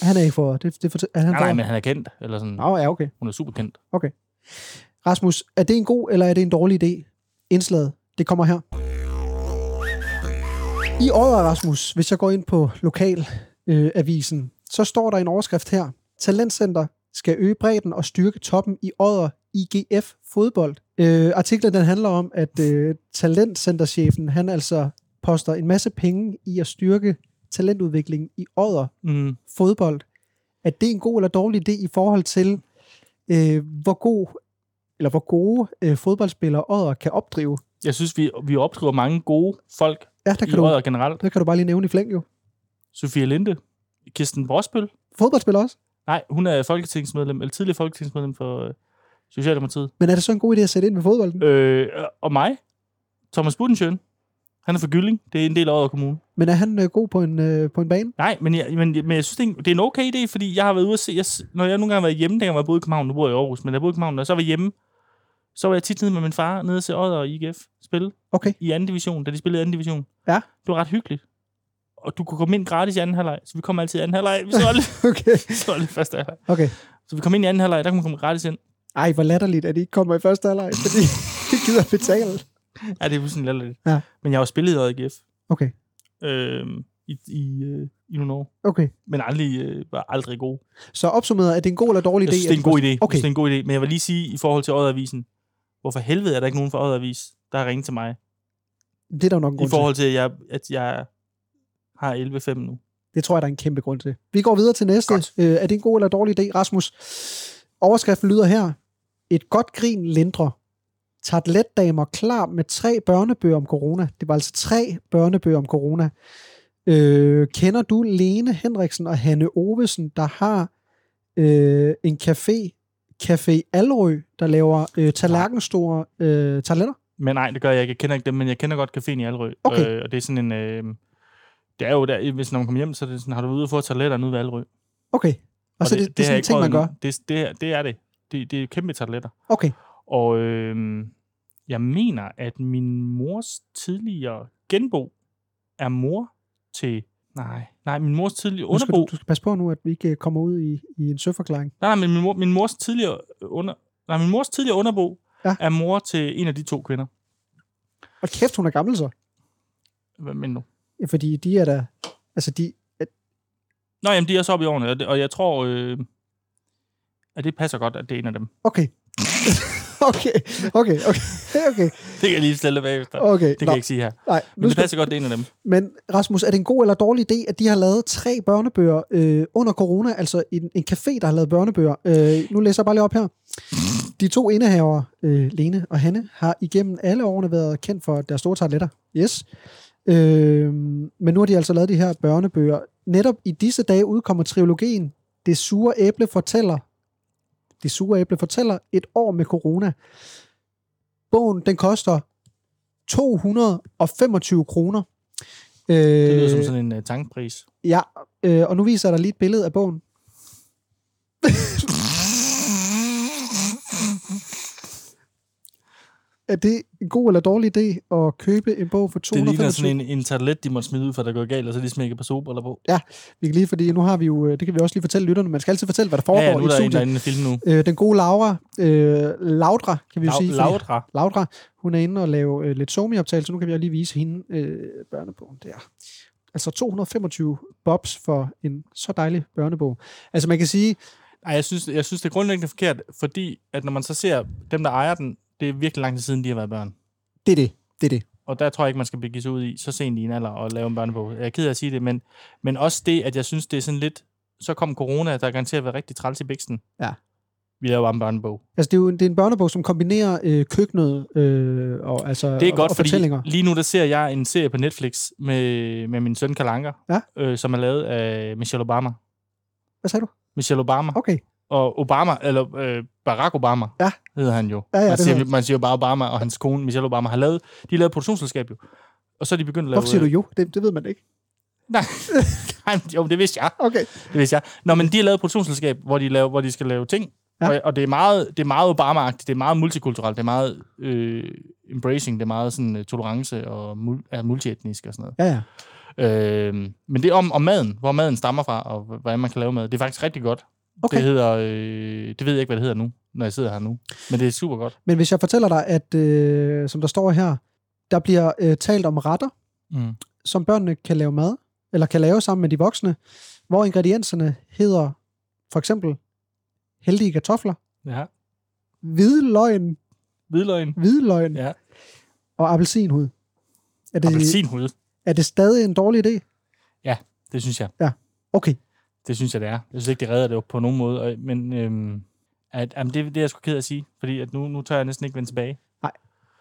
Han er ikke for... Det, det fortæ- er han
Nej, nej,
for-
men han er kendt. Eller sådan.
Nå, ja, okay.
Hun er super kendt.
Rasmus, er det en god eller er det en dårlig idé? Indslaget, det kommer her. I året, Rasmus, hvis jeg går ind på lokalavisen, øh, avisen, så står der en overskrift her. Talentcenter skal øge bredden og styrke toppen i året IGF fodbold. Øh, artiklen den handler om, at øh, talentcenterchefen, han altså poster en masse penge i at styrke talentudviklingen i året
Mm.
fodbold, at det er en god eller dårlig idé i forhold til, øh, hvor god eller hvor gode øh, fodboldspillere Odder kan opdrive.
Jeg synes, vi, vi opskriver mange gode folk
Ja, der
i
kan, du,
Odder generelt.
der kan du bare lige nævne i flæng jo.
Sofia Linde, Kirsten Borsbøl.
Fodboldspillere også.
Nej, hun er folketingsmedlem, eller tidligere folketingsmedlem for øh, Socialdemokratiet.
Men er det så en god idé at sætte ind med fodbolden?
Øh, og mig, Thomas Budensjøen. Han er fra Gylling. Det er en del af Odder Kommune.
Men er han øh, god på en, øh, på en bane?
Nej, men jeg, men, men jeg synes, det er, en, det er en okay idé, fordi jeg har været ude at se... Jeg, s- når jeg nogle gange har været hjemme, dengang jeg boede i København, nu bor jeg i Aarhus, men da jeg boede i København, når jeg så var hjemme, så var jeg tit nede med min far, nede til Odder og IGF spille
Okay.
i anden division, da de spillede i anden division.
Ja.
Det var ret hyggeligt. Og du kunne komme ind gratis i anden halvleg, så vi kom altid i anden halvleg. Vi så aldrig,
Okay.
vi så aldrig første halvleg.
okay.
Så vi kom ind i anden halvleg, der kunne man komme gratis ind.
Ej, hvor latterligt, at I ikke kommer i første halvleg, fordi I gider betale.
Ja, det er fuldstændig latterligt.
Ja.
Men jeg har jo spillet i Odder IGF
Okay.
øh, i, i, øh, i nogle år,
Okay.
men aldrig, øh, var aldrig god.
Så opsummeret, er det en god eller dårlig
Jeg
idé?
synes, det er en
at de
god idé.
får-
Okay. Jeg
Okay.
synes, det er en god idé. Men jeg vil lige sige i forhold til Odderavisen, hvorfor helvede er der ikke nogen fra Odderavis, der har ringet til mig?
Det er der jo nok
I
en grund til.
forhold til, at jeg, at jeg har 11.5 nu.
Det tror jeg, der er en kæmpe grund til. Vi går videre til næste.
Godt.
Øh, er det en god eller dårlig idé, Rasmus? Overskriften lyder her. Et godt grin lindrer. Tartletdamer klar med tre børnebøger om corona. Det var altså tre børnebøger om corona. Øh, kender du Lene Henriksen og Hanne Ovesen, der har øh, en café, Café Alrø, der laver øh, tallerkenstore øh, tartletter?
Men nej, det gør jeg ikke. Jeg kender ikke dem, men jeg kender godt caféen i Alrø.
Okay.
Øh, og det er sådan en... Øh, det er jo der, hvis når man kommer hjem, så er det sådan, har du været ude og få toiletter ude ved Alrø. Og,
Okay. Og, og så det, det, det er
har
sådan
jeg
en
ikke
ting, man gør.
prøvet endnu. Det, det, det er det. Det, det er kæmpe toiletter.
Okay.
Og øh, jeg mener, at min mors tidligere genbo er mor til... Nej, nej, min mors tidligere
Nu skal du,
underbo
du skal passe på nu, at vi ikke øh, kommer ud i, i en søforklaring.
Nej, nej, men min, mor, min mors tidligere under, nej, min mors tidligere underbo
Ja.
ja. er mor til en af de to kvinder.
Og kæft, hun er gammel så.
Hvad mener du?
Ja, Fordi de er da... Altså, de...
Nå, jamen, de er så oppe i årene, og, det, og jeg tror, øh, at det passer godt, at det er en af dem.
Okay. okay, okay, okay, okay,
Det kan jeg lige stille bagefter. Det
okay.
kan
Nå,
jeg ikke sige her.
nej,
Men
nu
det
skal,
passer godt, det er en af dem.
men Rasmus, er det en god eller dårlig idé, at de har lavet tre børnebøger øh, under corona? Altså en, en café, der har lavet børnebøger. Øh, nu læser jeg bare lige op her. De to indehavere, øh, Lene og Hanne, har igennem alle årene været kendt for deres store toiletter. Yes. Øh, men nu har de altså lavet de her børnebøger. Netop i disse dage udkommer trilogien Det sure æble fortæller. Det sure æble fortæller et år med corona. Bogen, den koster 225 kroner. Øh,
Det lyder som sådan en uh, tankpris.
Ja, øh, og nu viser jeg dig lige et billede af bogen. er det en god eller dårlig idé at købe en bog for
Det
225?
ligner sådan en, en tartelet, de måtte smide ud, for der går galt, og så de smækker på sober eller på.
Vi kan lige, fordi nu har vi jo, øh, det kan vi også lige fortælle lytterne, man skal altid fortælle, hvad der
Ja,
foregår
ja, nu
i
er der en, der er
studiet.
inde i film nu.
Øh, den gode Laura, øh, Laudra, kan vi jo
Lau-
sige. fordi-
Laudra.
Laudra, hun er inde og lave øh, lidt somi-optagelse. Nu kan vi jo lige vise hende øh, børnebogen der. Altså 225 bobs for en så dejlig børnebog. Altså man kan sige,
Ej, jeg synes, jeg synes, det er grundlæggende forkert, fordi at når man så ser dem, der ejer den, det er virkelig lang tid siden, de har været børn.
det er det. Det er det.
Og der tror jeg ikke, man skal begive sig ud i så sent i en alder og lave en børnebog. Jeg er ked af at sige det, men, men også det, at jeg synes, det er sådan lidt... Så kom corona, der garanterer at være rigtig træls i biksen.
Ja.
Vi laver bare en børnebog.
Altså det er jo en, det er en børnebog, som kombinerer øh, køkkenet øh, og, altså,
Det er
og,
godt,
og
fordi
fortællinger.
lige nu der ser jeg en serie på Netflix med, med min søn Kalanker,
Ja.
øh, som er lavet af Michelle Obama.
Hvad sagde du?
Michelle Obama.
Okay.
Og Obama, eller øh, Barack Obama,
Ja.
hedder han jo.
Ja, ja,
man,
det
siger,
hedder
man siger jo bare Obama, og hans kone Michelle Obama har lavet, de har lavet et produktionsselskab jo. Og så er de begyndt at lave...
Hvorfor siger du jo? Det, det ved man ikke.
Nej, nej, men jo, det vidste jeg.
Okay.
Det vidste jeg. Nå, men de har lavet et produktionsselskab, hvor de, laver, hvor de skal lave ting.
Ja.
Ja. Og, og, det er meget, det er meget obama det er meget multikulturelt, det er meget øh, embracing, det er meget sådan, øh, tolerance og mul- er multietnisk og sådan noget.
Ja, ja.
Øh, men det er om, om maden, hvor maden stammer fra, og h- hvordan man kan lave mad. Det er faktisk rigtig godt.
Okay.
Det hedder, øh, det ved jeg ikke, hvad det hedder nu, når jeg sidder her nu. Men det er super godt.
Men hvis jeg fortæller dig, at øh, som der står her, der bliver øh, talt om retter,
Mm.
som børnene kan lave mad, eller kan lave sammen med de voksne, hvor ingredienserne hedder for eksempel heldige kartofler,
Ja.
hvidløgn,
Hvidløgn.
hvidløgn
Ja.
og appelsinhud. Er det,
Appelsinhud.
er det stadig en dårlig idé?
Det synes jeg.
Okay.
Det synes jeg, det er. Jeg synes ikke, det redder det jo på nogen måde. og- Men øhm, at, jamen, det, det er jeg sgu ked af at sige, fordi at nu, nu tør jeg næsten ikke vende tilbage.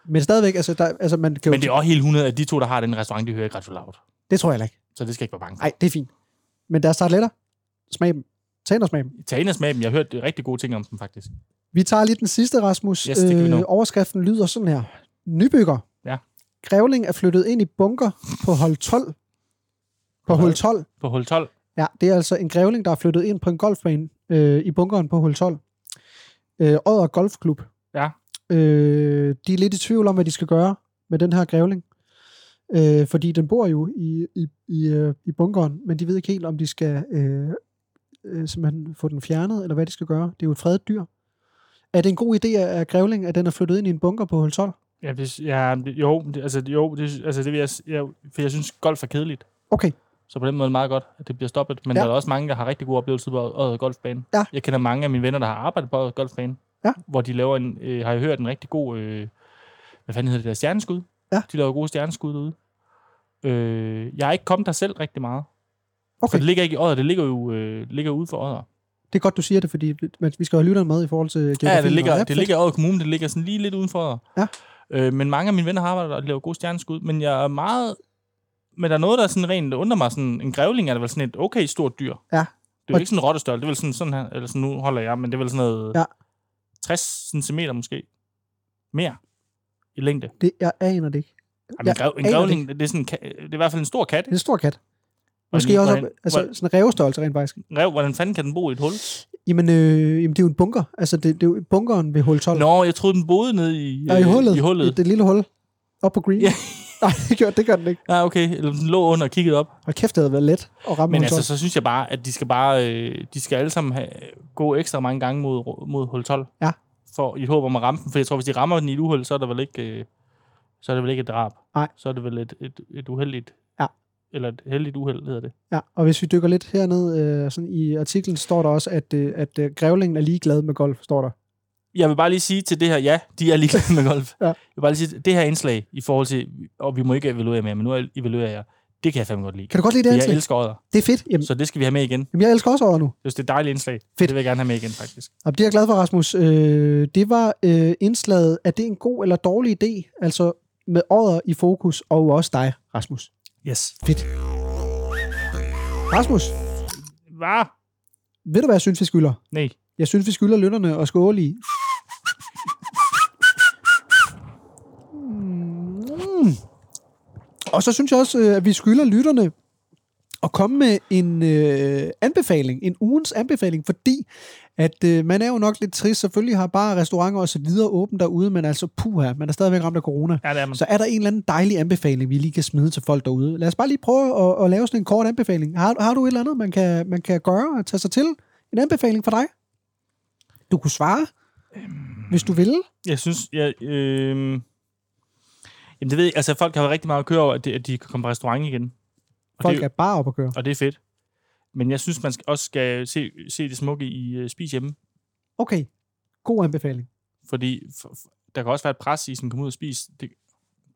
Men stadigvæk, altså, der, altså man kan jo...
Men det er også helt 100, at de to, der har den restaurant, de hører ikke ret så lavt.
det tror jeg heller ikke.
Så det skal jeg ikke være bange for.
Nej, det er fint. Men deres tartletter, smag dem. Tag og smag dem.
Tag ind og smag dem. Jeg har hørt rigtig gode ting om dem, faktisk.
Vi tager lige den sidste, Rasmus. Øh,
Yes, det kan vi nå.
overskriften lyder sådan her. Nybygger.
Ja.
Grævling er flyttet ind i bunker på hold 12. På
Hvad?
hul 12.
På hul 12.
Ja, det er altså en grævling, der er flyttet ind på en golfbane øh, i bunkeren på hul 12. Øh, Odder Golfklub.
Ja.
Øh, de er lidt i tvivl om, hvad de skal gøre med den her grævling. Øh, fordi den bor jo i, i, i, øh, i bunkeren, men de ved ikke helt, om de skal øh, øh, simpelthen få den fjernet, eller hvad de skal gøre. Det er jo et fredet dyr. Er det en god idé af grævling, at den er flyttet ind i en bunker på hul 12?
Ja, hvis, ja, det- jo, det, altså, jo, det, altså, det vil jeg, s- jeg, for jeg synes, golf er kedeligt.
Okay,
Så på den måde er det meget godt, at det bliver stoppet. Men
Ja.
ja. der er også mange, der har rigtig gode oplevelser på Odder Golfbane.
Ja.
Jeg kender mange af mine venner, der har arbejdet på Odder Golfbane.
Ja.
Hvor de laver en, øh, har jeg hørt, en rigtig god, øh, hvad fanden hedder det der, stjerneskud.
Ja.
De laver gode stjerneskud derude. Øh, jeg er ikke kommet der selv rigtig meget. For
okay.
det ligger ikke i Odder, det ligger jo øh, ligger ude for Odder.
Det er godt, du siger det, fordi man- vi skal jo have lytteren med i forhold til geografien.
Ja, det
og-
ligger, det
fedt.
ligger i Odder Kommune, det ligger sådan lige lidt udenfor Odder.
Ja.
Øh, men mange af mine venner har arbejdet der og de laver gode stjerneskud, men jeg er meget... Men der er noget, der er sådan rent der undrer mig. Sådan, en grævling er da vel sådan et okay stort dyr. Det
Ja.
er jo
Og-
ikke sådan en rottestørrelse. Det er vel sådan, sådan her, eller sådan, nu holder jeg, men det er vel sådan noget
Ja.
60 cm måske. Mere i længde.
Det, jeg aner det ikke.
Ej,
Jeg
men grev, en
aner
grævling, det. det, er sådan, en ka- det er i hvert fald en stor kat.
Det er en stor kat.
Og
Måske
en-
også op,
hvordan-
altså,
hvordan-
sådan en revstørrelse rent faktisk.
Rev, hvordan fanden kan den bo i et hul?
Jamen, øh, jamen det er jo en bunker. Altså, det, det er jo bunkeren ved hul 12.
Nå, jeg troede, den boede nede i,
Nej, i
øh,
hullet.
I hullet.
I det lille hul. Op på green.
Ja.
Nej, det gør, det gør den ikke.
Ja, okay. Eller den lå under og kiggede op.
Og kæft, det havde været let at ramme
Men
hul
altså,
12.
så synes jeg bare, at de skal bare, øh, de skal alle sammen have, gå ekstra mange gange mod, mod hul 12.
Ja.
For, I et håb om at ramme den, for jeg tror, hvis de rammer den i et uheld, så er der vel ikke, øh, så er det vel ikke et drab.
Nej.
Så er det vel et, et, et uheldigt,
Ja.
eller et heldigt uheld, hedder det.
Ja, og hvis vi dykker lidt herned øh, sådan i artiklen, står der også, at, øh, at øh, grævlingen er ligeglad med golf, står der.
Jeg vil bare lige sige til det her, ja, de er ligeglade med golf.
Ja.
Jeg vil bare lige sige, det her indslag i forhold til, og vi må ikke evaluere mere, men nu evaluerer jeg, det kan jeg fandme godt lide.
Kan du godt lide det
Jeg
indslag?
elsker odder,
Det er fedt. Jamen,
så det skal vi have med igen.
jamen, jeg elsker også over nu.
Jeg synes, det er et dejligt indslag.
Fedt.
Det vil jeg gerne have med igen, faktisk.
Og det er jeg glad for, Rasmus. Øh, det var øh, indslaget, er det en god eller dårlig idé? Altså med året i fokus, og også dig, Rasmus.
Yes.
Fedt. Rasmus,
Hvad?
ved du, hvad jeg synes, vi skylder?
Nej.
Jeg synes, vi skylder lønnerne og skåle i. Mm. Og så synes jeg også, øh, at vi skylder lytterne at komme med en øh, anbefaling, en ugens anbefaling, fordi at øh, man er jo nok lidt trist. Selvfølgelig har bare restauranter og så videre åbent derude, men altså puha, man er stadigvæk ramt af corona.
Ja, det er man.
Mm. Så er der en eller anden dejlig anbefaling, vi lige kan smide til folk derude. Lad os bare lige prøve at, at lave sådan en kort anbefaling. Har, har du et eller andet, man kan, man kan gøre og tage sig til? En anbefaling for dig? Du kunne svare, hvis du ville.
Jeg synes, jeg... Øh... Jamen, det ved jeg. Altså, folk har jo rigtig meget at køre over, at de, at de kan komme på restaurant igen. Og
Folk
det,
er bare op at køre.
og det er fedt. Men jeg synes, man skal, også skal se, se det smukke i øh, Spis Hjemme.
Okay, god anbefaling.
Fordi for, for, der kan også være et pres i, sådan, kom ud og spis. Det,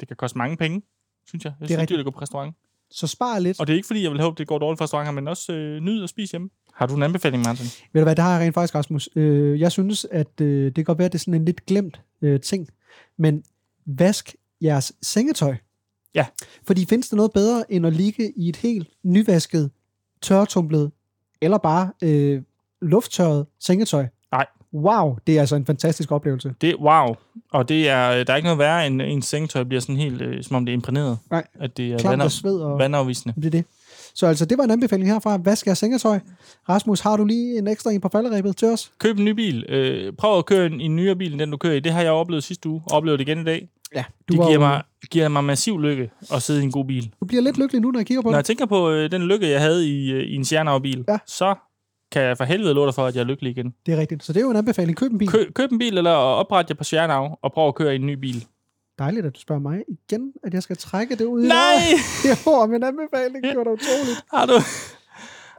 det kan koste mange penge, synes jeg. Jeg synes, det er
rigtigt.
dyrt at gå på restaurant.
Så spar lidt.
Og det er ikke, fordi jeg vil håbe, det går dårligt for restauranter, men også øh, nyd at spise hjemme. Har du en anbefaling, Martin?
Ved du hvad, det har jeg rent faktisk, Rasmus. Øh, jeg synes, at øh, det kan godt være, at det er sådan en lidt glemt øh, ting, men vask jeres sengetøj.
Ja.
Fordi findes der noget bedre, end at ligge i et helt nyvasket, tørretumblet, eller bare øh, lufttørret sengetøj?
Nej.
Wow, det er altså en fantastisk oplevelse.
Det wow. Og det er, øh, der er ikke noget værre, end ens sengetøj bliver sådan helt, øh, som om det er imprægneret.
Nej.
At det er
Klamt og
vandaf-
sved og...
vandafvisende.
Det er det. Så altså, det var en anbefaling herfra. Vask jeres sengetøj. Rasmus, har du lige en ekstra en på falderæbet til os?
Køb en ny bil. Øh, prøv at køre en, en nyere bil, end den du kører i. Det har jeg oplevet sidste uge, og oplevet det igen i dag.
Ja, du,
Det
var,
giver
jo-
mig, giver mig massiv lykke at sidde i en god bil.
du bliver lidt lykkelig nu, når jeg kigger på
Når
dig.
jeg tænker på øh, den lykke, jeg havde i, øh, i en Sjernau-bil,
Ja.
ja. så kan jeg for helvede love dig for, at jeg er lykkelig igen.
Det er rigtigt. Så det er jo en anbefaling. Køb en bil.
Kø, køb en bil, eller opret jer på Sjernau, og prøv at køre i en ny bil.
Dejligt, at du spørger mig igen, at jeg skal trække det ud. i
Nej!
lørdag. Jo, om en anbefaling. Det var da utroligt.
Har du,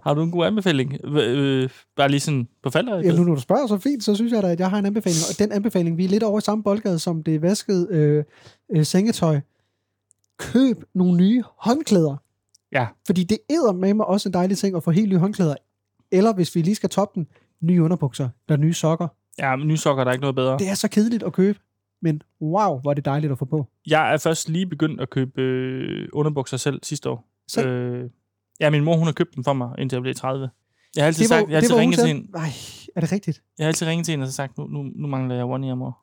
har du en god anbefaling? Hva- Øh, bare lige sådan på falder?
Ja, nu når du spørger så fint, så synes jeg da, at jeg har en anbefaling. Og den anbefaling, vi er lidt over i samme boldgade, som det vaskede øh, øh, sengetøj. Køb nogle nye håndklæder.
Ja.
Fordi det æder med mig også en dejlig ting at få helt nye håndklæder. Eller hvis vi lige skal toppe den, nye underbukser eller nye sokker.
ja men nye sokker, der er ikke noget bedre.
Det er så kedeligt at købe, men wow, hvor er det dejligt at få på.
Jeg er først lige begyndt at købe øh, underbukser selv sidste år.
Selv?
Øh, ja, min mor, hun har købt dem for mig, indtil jeg blev 30. Jeg har altid,
Det var-
sagt, jeg har
det
altid
var hun
ringet til
selv.
hende,
Ej, er det rigtigt?
jeg har altid ringet til hende og så sagt, nu, nu, nu mangler jeg one year, mor.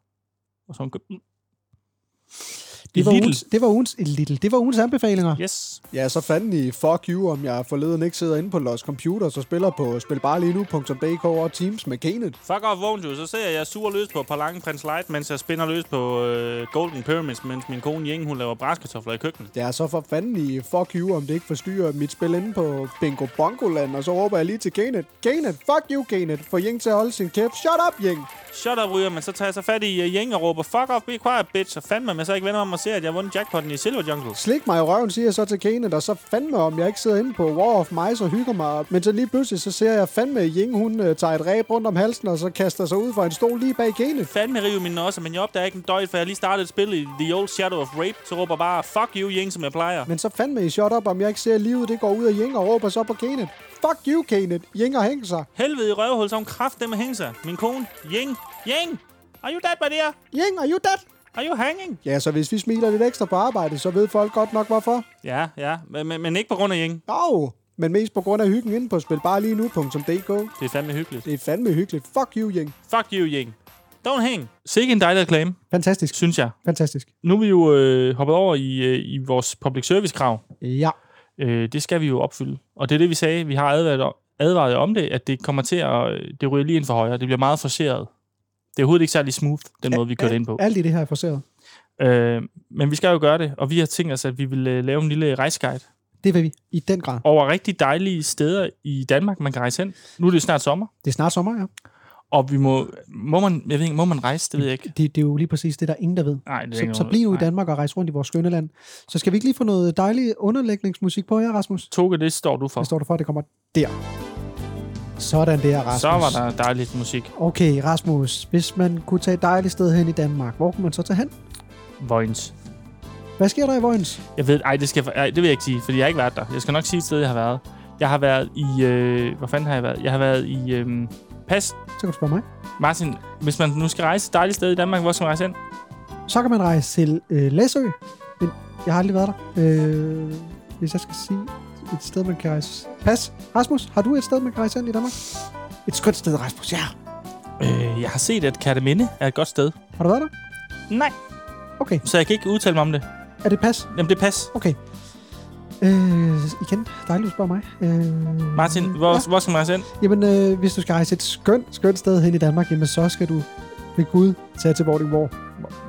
Og så har hun købt dem.
Det
I
var,
Lidl.
ugens, det var ugens, i Lidl. Det var ugens anbefalinger.
Yes.
Ja, så fanden i fuck you, om jeg forleden ikke sidder inde på Los Computers og spiller på spilbarelienu.dk og Teams med Kenneth.
Fuck off, vågn du. Så ser jeg, jeg suger løs på Palange Prince Light, mens jeg spænder løs på øh, Golden Pyramids, mens min kone Jing, hun laver bræskartofler i køkkenet.
Ja, så for fanden i fuck you, om det ikke forstyrrer mit spil inde på Bingo Bongoland, og så råber jeg lige til Kenneth. Kenneth, fuck you, Kenneth. Få Jing til at holde sin kæft. Shut up, Jing.
Shut up, ryger, men så tager jeg så fat i uh, Jing og råber, fuck off, be quiet, bitch. Og fandme, men så ikke vender om og ser, at jeg har vundet jackpotten i Silver Jungle.
Slik mig i røven, siger jeg så til Kenneth, og så fandme om jeg ikke sidder inde på War of Mice og hygger mig. Men så lige pludselig, så ser jeg fandme at Jing, hun øh, tager et ræb rundt om halsen, og så kaster sig ud for en stol lige bag Kenneth.
Fandme rive min også, men jeg opdager ikke en døjt, for jeg har lige startet et spil i The Old Shadow of Rape, så råber bare, fuck you, Jing, som jeg plejer.
Men så fandme i shut up, om jeg ikke ser at livet, det går ud af Jing og råber så på Kenneth. Fuck you, Kenneth. Jing og hæng sig.
Helvede i røvhul, så hun kraft dem hænge sig. Min kone, Jing, Jing, are you dead, my dear?
Jing, are you dead?
Are you hanging?
Ja, så hvis vi smiler lidt ekstra på arbejde, så ved folk godt nok hvorfor.
Ja, ja, men, men, men ikke på grund af Jing.
Jo, men mest på grund af hyggen inde på spilbarelienu.dk.
Det er fandme hyggeligt.
Det er fandme hyggeligt. Fuck you, Jing.
Fuck you, Ying. Don't hang. Sikke en dejlig reklame,
Fantastisk,
synes jeg.
fantastisk.
Nu er vi jo øh, hoppet over i, øh, i vores public service-krav.
Ja,
Øh, det skal vi jo opfylde. Og det er det, vi sagde. Vi har advaret, om- advaret om det, at det kommer til at... øh, Det ryger lige ind for højre. Det bliver meget forceret. Det er overhovedet ikke særlig smooth, den måde, vi kører det ind på.
alt i det her er forceret.
Øh, men vi skal jo gøre det, og vi har tænkt os, at vi vil øh, lave en lille rejseguide
Det vil vi i den grad.
over rigtig dejlige steder i Danmark, man kan rejse hen. Nu er det jo snart sommer,
Det er snart sommer, ja.
og vi må... Må man, jeg ved ikke, må man rejse? Det ved jeg ikke.
Det, det er jo lige præcis det, der er ingen, der ved.
Nej, det er
Så,
ikke
så
noget-
bliv nu i
nej.
Danmark og rejse rundt i vores skønne land. Så skal vi ikke lige få noget dejlig underlægningsmusik på her, Rasmus?
Toge, det står du for.
Hvad står der for, at det kommer der? Sådan der, Rasmus.
Så var der dejligt musik.
Okay, Rasmus, hvis man kunne tage et dejligt sted hen i Danmark, hvor kunne man så tage hen?
Vojens.
Hvad sker der i Vojens?
Jeg ved, ej, det, skal, jeg- ej, det vil jeg ikke sige, fordi jeg har ikke været der. Jeg skal nok sige et sted, jeg har været. Jeg har været i... Øh, hvor fanden har jeg været? Jeg har været i... Øh, pas,
Så kan du spørge mig.
Martin, hvis man nu skal rejse et dejligt sted i Danmark, hvor skal man rejse hen?
Så kan man rejse til øh, Læsø. Men jeg har aldrig været der. Øh,
Hvis jeg skal sige et sted, man kan rejse... Pas. Rasmus, har du et sted, man kan rejse hen i Danmark? Et skønt sted, Rasmus, ja.
Øh, jeg har set, at Kataminde er et godt sted.
Har du været der?
Nej.
Okay.
Så jeg kan ikke udtale mig om det.
Er det pas?
Jamen, det er pas.
Okay. Øh, igen, dejligt, du spørger mig. Øh,
Martin, hvor, ja. hvor skal man rejse ind?
Jamen, øh, hvis du skal rejse et skønt, skønt sted hen i Danmark, jamen, så skal du ved Gud tage til Vordingborg.